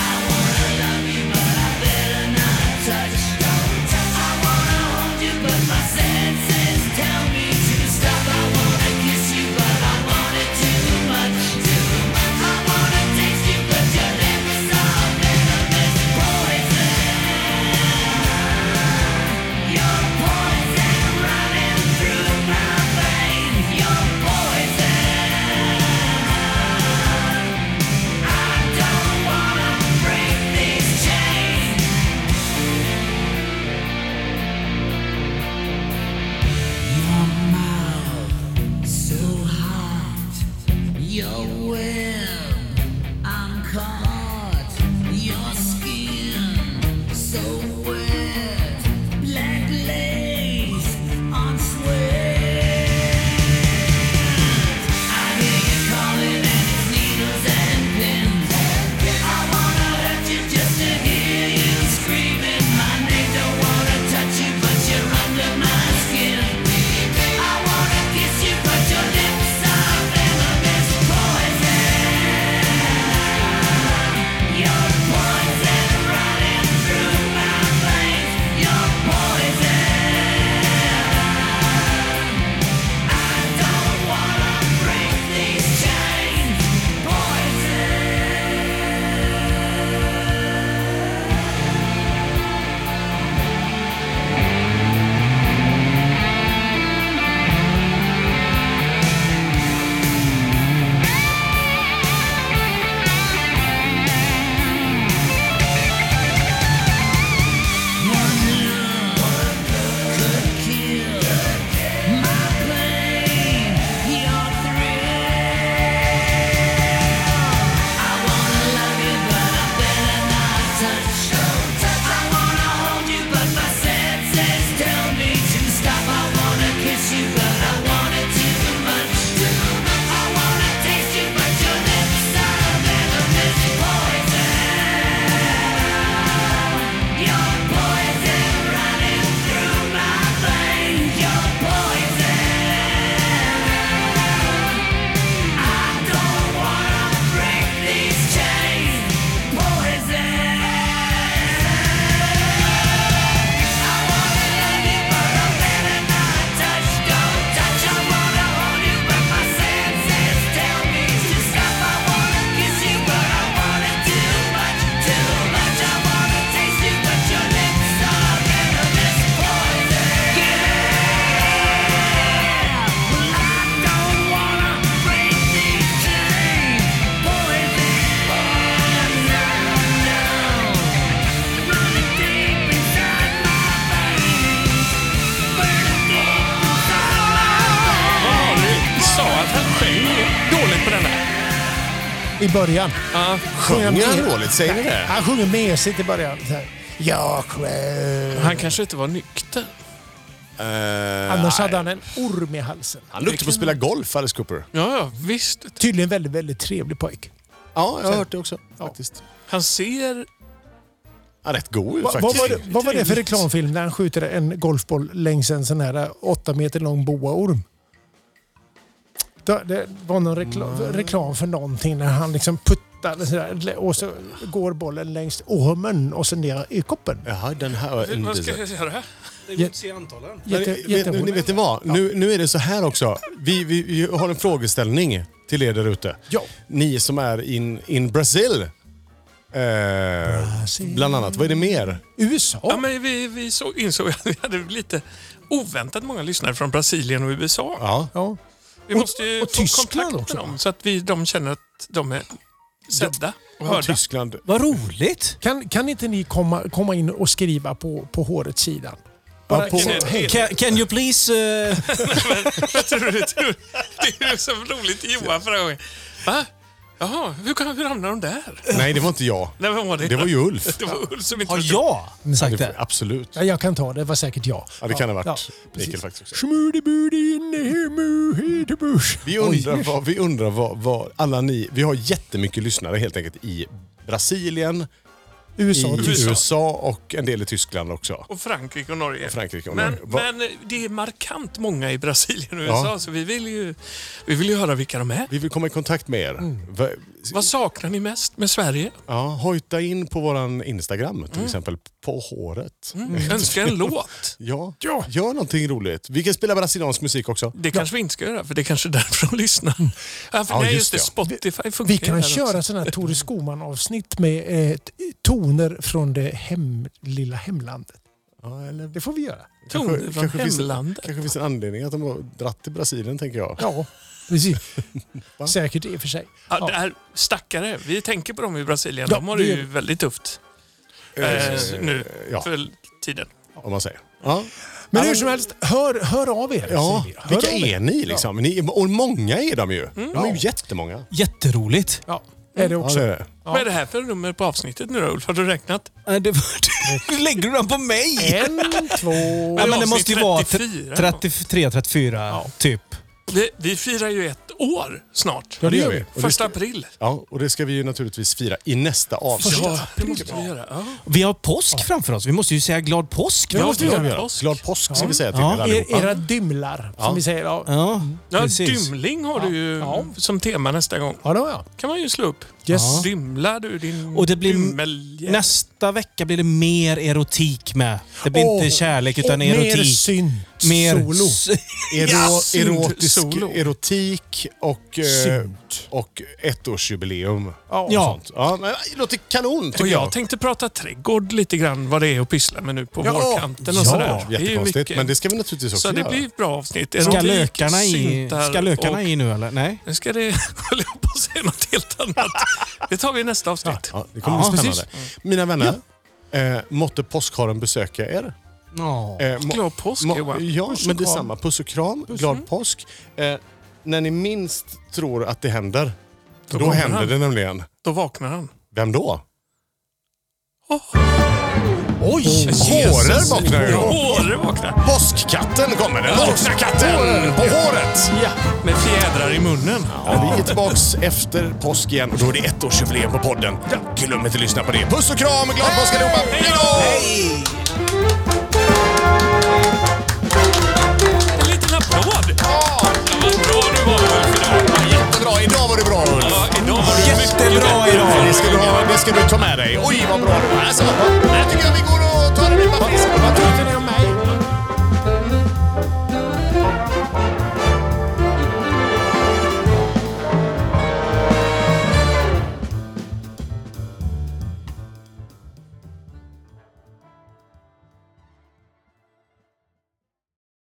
S10: I wanna love you, but I better not touch. Don't touch. I wanna hold you, but my senses tell me to stop. I wanna kiss you, but I want it too much, too
S2: i början.
S4: Ja.
S3: Sjunger han
S2: med-
S3: dåligt? Säger ni det?
S2: Han sjunger mesigt i början. Så här. Jag själv.
S4: Han kanske inte var nykter.
S2: Annars hade han en orm i halsen.
S3: Eh, Han är duktig på att spela golf, Alice Cooper.
S4: Ja, ja, visst.
S2: Tydligen väldigt, väldigt trevlig pojk.
S3: Ja, jag
S2: Så-
S3: har hört det också. Faktiskt.
S4: Han ser...
S3: Ja, rätt god ut
S2: Va, vad,
S3: faktiskt.
S2: var det, vad var det för
S4: Trevligt.
S2: reklamfilm där han skjuter en golfboll längs en sån här eh, åtta meter lång boaorm? Det, det var någon rekla,
S3: Mm.
S2: reklam för någonting när han liksom puttar sådär, och så går bollen längs ormen och sen ner i koppen.
S3: Jaha, den här var
S4: Vad ska
S3: inte...
S4: jag göra?
S1: Det går inte att se antalen.
S2: Jätte,
S3: Men, vet, ni,
S2: jätteroligt.
S3: vet ni vad? Nu, nu är det så här också. Vi, vi, vi har en frågeställning till er där ute.
S2: Ja.
S3: Ni som är in, in Brazil. Eh, Bland annat. Vad är det mer?
S2: Alltså, USA?
S4: Ja, men vi vi så, insåg att vi hade lite oväntat många lyssnare från Brasilien och USA.
S3: Ja.
S2: Ja.
S4: Vi
S2: Och-
S4: måste ju
S2: och
S4: få
S2: Tyskland
S4: kontakt med
S2: också, va?
S4: dem så att vi, de känner att de är sedda
S3: Ja,
S4: och hörda.
S3: Tyskland.
S1: Vad roligt!
S2: Kan, kan inte ni komma, komma in och skriva på, på hårets sidan?
S3: Ja, på,
S4: Vilken är-
S3: hej.
S1: Can, can you please... eh,
S4: Jag tror det, tror, det är ju så roligt i Johan förra gången. Va? Jaha, hur, kan, hur hamnade de där?
S3: Nej, det var inte jag.
S4: Nej, vem var det?
S3: Det var ju Ulf.
S4: Det var Ulf som inte
S1: har
S4: förstod.
S1: jag sagt det?
S3: Absolut.
S2: Ja, jag kan ta det, det var säkert jag.
S3: Ja, det kan ha varit
S2: Ja,
S3: Mikael
S2: precis.
S3: faktiskt. också.
S2: Schmudibudi inne i muhidubush.
S3: Vi undrar, vad, vi undrar vad, vad alla ni... Vi har jättemycket lyssnare helt enkelt i Brasilien,
S2: USA,
S3: i
S2: Tyskland.
S3: USA och en del i Tyskland också.
S4: Och Frankrike och Norge.
S3: Frankrike och
S4: men,
S3: Norge. Va-
S4: men det är markant många i Brasilien och
S3: Ja.
S4: USA så vi vill, ju, vi vill ju höra vilka de är.
S3: Vi vill komma i kontakt med er.
S2: Mm.
S3: Va-
S4: Vad saknar ni mest med Sverige?
S3: Ja, hojta in på våran Instagram
S4: Mm.
S3: till exempel. På håret.
S4: Önska en låt.
S3: Ja,
S2: Ja.
S3: gör någonting roligt. Vi kan spela brasiliansk musik också.
S4: Det kanske vi inte ska göra, för det är kanske är därför de lyssnar. Ja, för
S3: Ja,
S4: nej,
S3: just
S4: just det.
S3: det.
S4: Spotify funkar
S2: Vi
S4: ju här
S2: kan köra
S4: också.
S2: sådana här Tore Skoman-avsnitt med eh, t- toner från det hem, lilla hemlandet.
S3: Ja, eller...
S2: Det får vi göra.
S4: Toner från
S3: kanske finns-
S4: hemlandet.
S3: kanske finns en anledning att de har dratt till Brasilien, tänker jag.
S2: Ja, precis. Säkert i och för sig.
S4: Ja,
S2: Ja.
S4: det här, stackare, vi tänker på dem i Brasilien.
S2: Ja,
S4: de har det
S2: det-
S4: ju väldigt tufft eh, nu
S3: ja.
S4: för tiden.
S3: Om man säger. Ja,
S2: Men hur som helst, hör, hör av er.
S3: ja.
S2: säger vi. Hör
S3: vilka
S2: av er.
S3: är ni liksom? Ni, och många är de
S4: Mm.
S3: ju. De är ju jättemånga.
S1: Jätteroligt.
S2: Ja, är det
S3: Ja,
S2: också.
S3: det är det.
S4: Vad är det här för nummer på avsnittet nu då, Ulf? Har du räknat?
S1: Nej, det var, lägger du den på mig?
S2: En, två...
S1: Ja, men det måste ju vara
S4: Avsnitt 34.
S1: 33, 34 typ.
S4: Vi, vi firar ju ett år snart.
S3: Ja, det gör vi. Och det,
S4: Första
S3: ska,
S4: april.
S3: ja, och det ska vi ju naturligtvis fira i nästa avsnitt.
S4: Ja, det måste vi göra. Ja.
S1: Vi har påsk framför oss. Vi måste ju säga glad påsk.
S4: Ja,
S1: nu.
S4: måste vi
S3: Glad
S4: göra.
S3: påsk. Glad påsk ska
S1: Ja.
S3: vi säga till
S1: Ja.
S3: er
S2: Er,
S3: allihopa.
S2: era dymlar, som vi säger. Ja,
S1: Ja,
S4: Ja,
S1: precis.
S4: Dymling har du ju
S2: Ja.
S4: som tema nästa gång.
S2: ja det har jag.
S4: kan man ju slå upp.
S2: Yes.
S4: Dymlar du din
S1: Och det blir-
S4: dymmelje?
S1: Nästa vecka blir det mer erotik med. Det blir
S2: Åh,
S1: inte kärlek utan
S2: och Mer
S1: erotik.
S2: synt,
S1: Mer
S2: solo.
S1: s-
S3: Ero,
S4: Ja, synd.
S3: erotisk,
S4: Solo.
S3: erotik och, eh,
S2: Synd.
S3: och ettårsjubileum.
S2: Ja.
S3: Och sånt. ja men det låter kanon tycker
S4: Och
S3: jag.
S4: jag tänkte prata trädgård lite grann, vad det är att pyssla med nu på
S3: Ja,
S4: vårkanten och
S1: ja.
S4: sådär. Det är ju
S3: Jättekonstigt,
S4: mycket.
S3: men det ska vi naturligtvis också
S4: Så det
S3: göra.
S4: blir ett bra avsnitt.
S1: Ska
S4: Erotik,
S1: lökarna, i,
S4: syntar
S1: ska lökarna
S4: och-
S1: i nu eller? Nej?
S4: Nu ska det, håller jag på att säga något helt annat. Det tar vi i nästa avsnitt.
S3: Ja, det kommer bli spännande. Mina vänner, eh, måtte påskharen besöka er.
S1: Ja.
S3: Eh, må-
S4: Glad påsk
S3: må-
S4: Johan.
S3: Ja, men detsamma. Puss och kram. Glad påsk. Eh, när ni minst tror att det händer, då,
S4: kommer
S3: händer
S4: han.
S3: det nämligen.
S4: Då vaknar han.
S3: Vem då?
S1: Oj!
S3: Håren vaknar ju då.
S4: Åre vaknar!
S3: Påskkatten kommer. Den vakna katten på håret.
S4: Med fjädrar i munnen.
S3: Ja, vi är tillbaks efter påsk igen och då är det ettårsjubileum på podden. Glöm inte att lyssna på det. Puss och kram! Glad påsk allihopa! Hej då!
S4: En liten applåd! Ja, Vad bra du var Ulf idag.
S3: Jättebra! Idag var det bra Ulf!
S4: Ja, Idag var du mycket
S1: Jättebra
S4: bättre.
S1: idag.
S3: Det ska du, ha, det ska du ta med dig. Oj vad bra det var! Alltså, vad bra.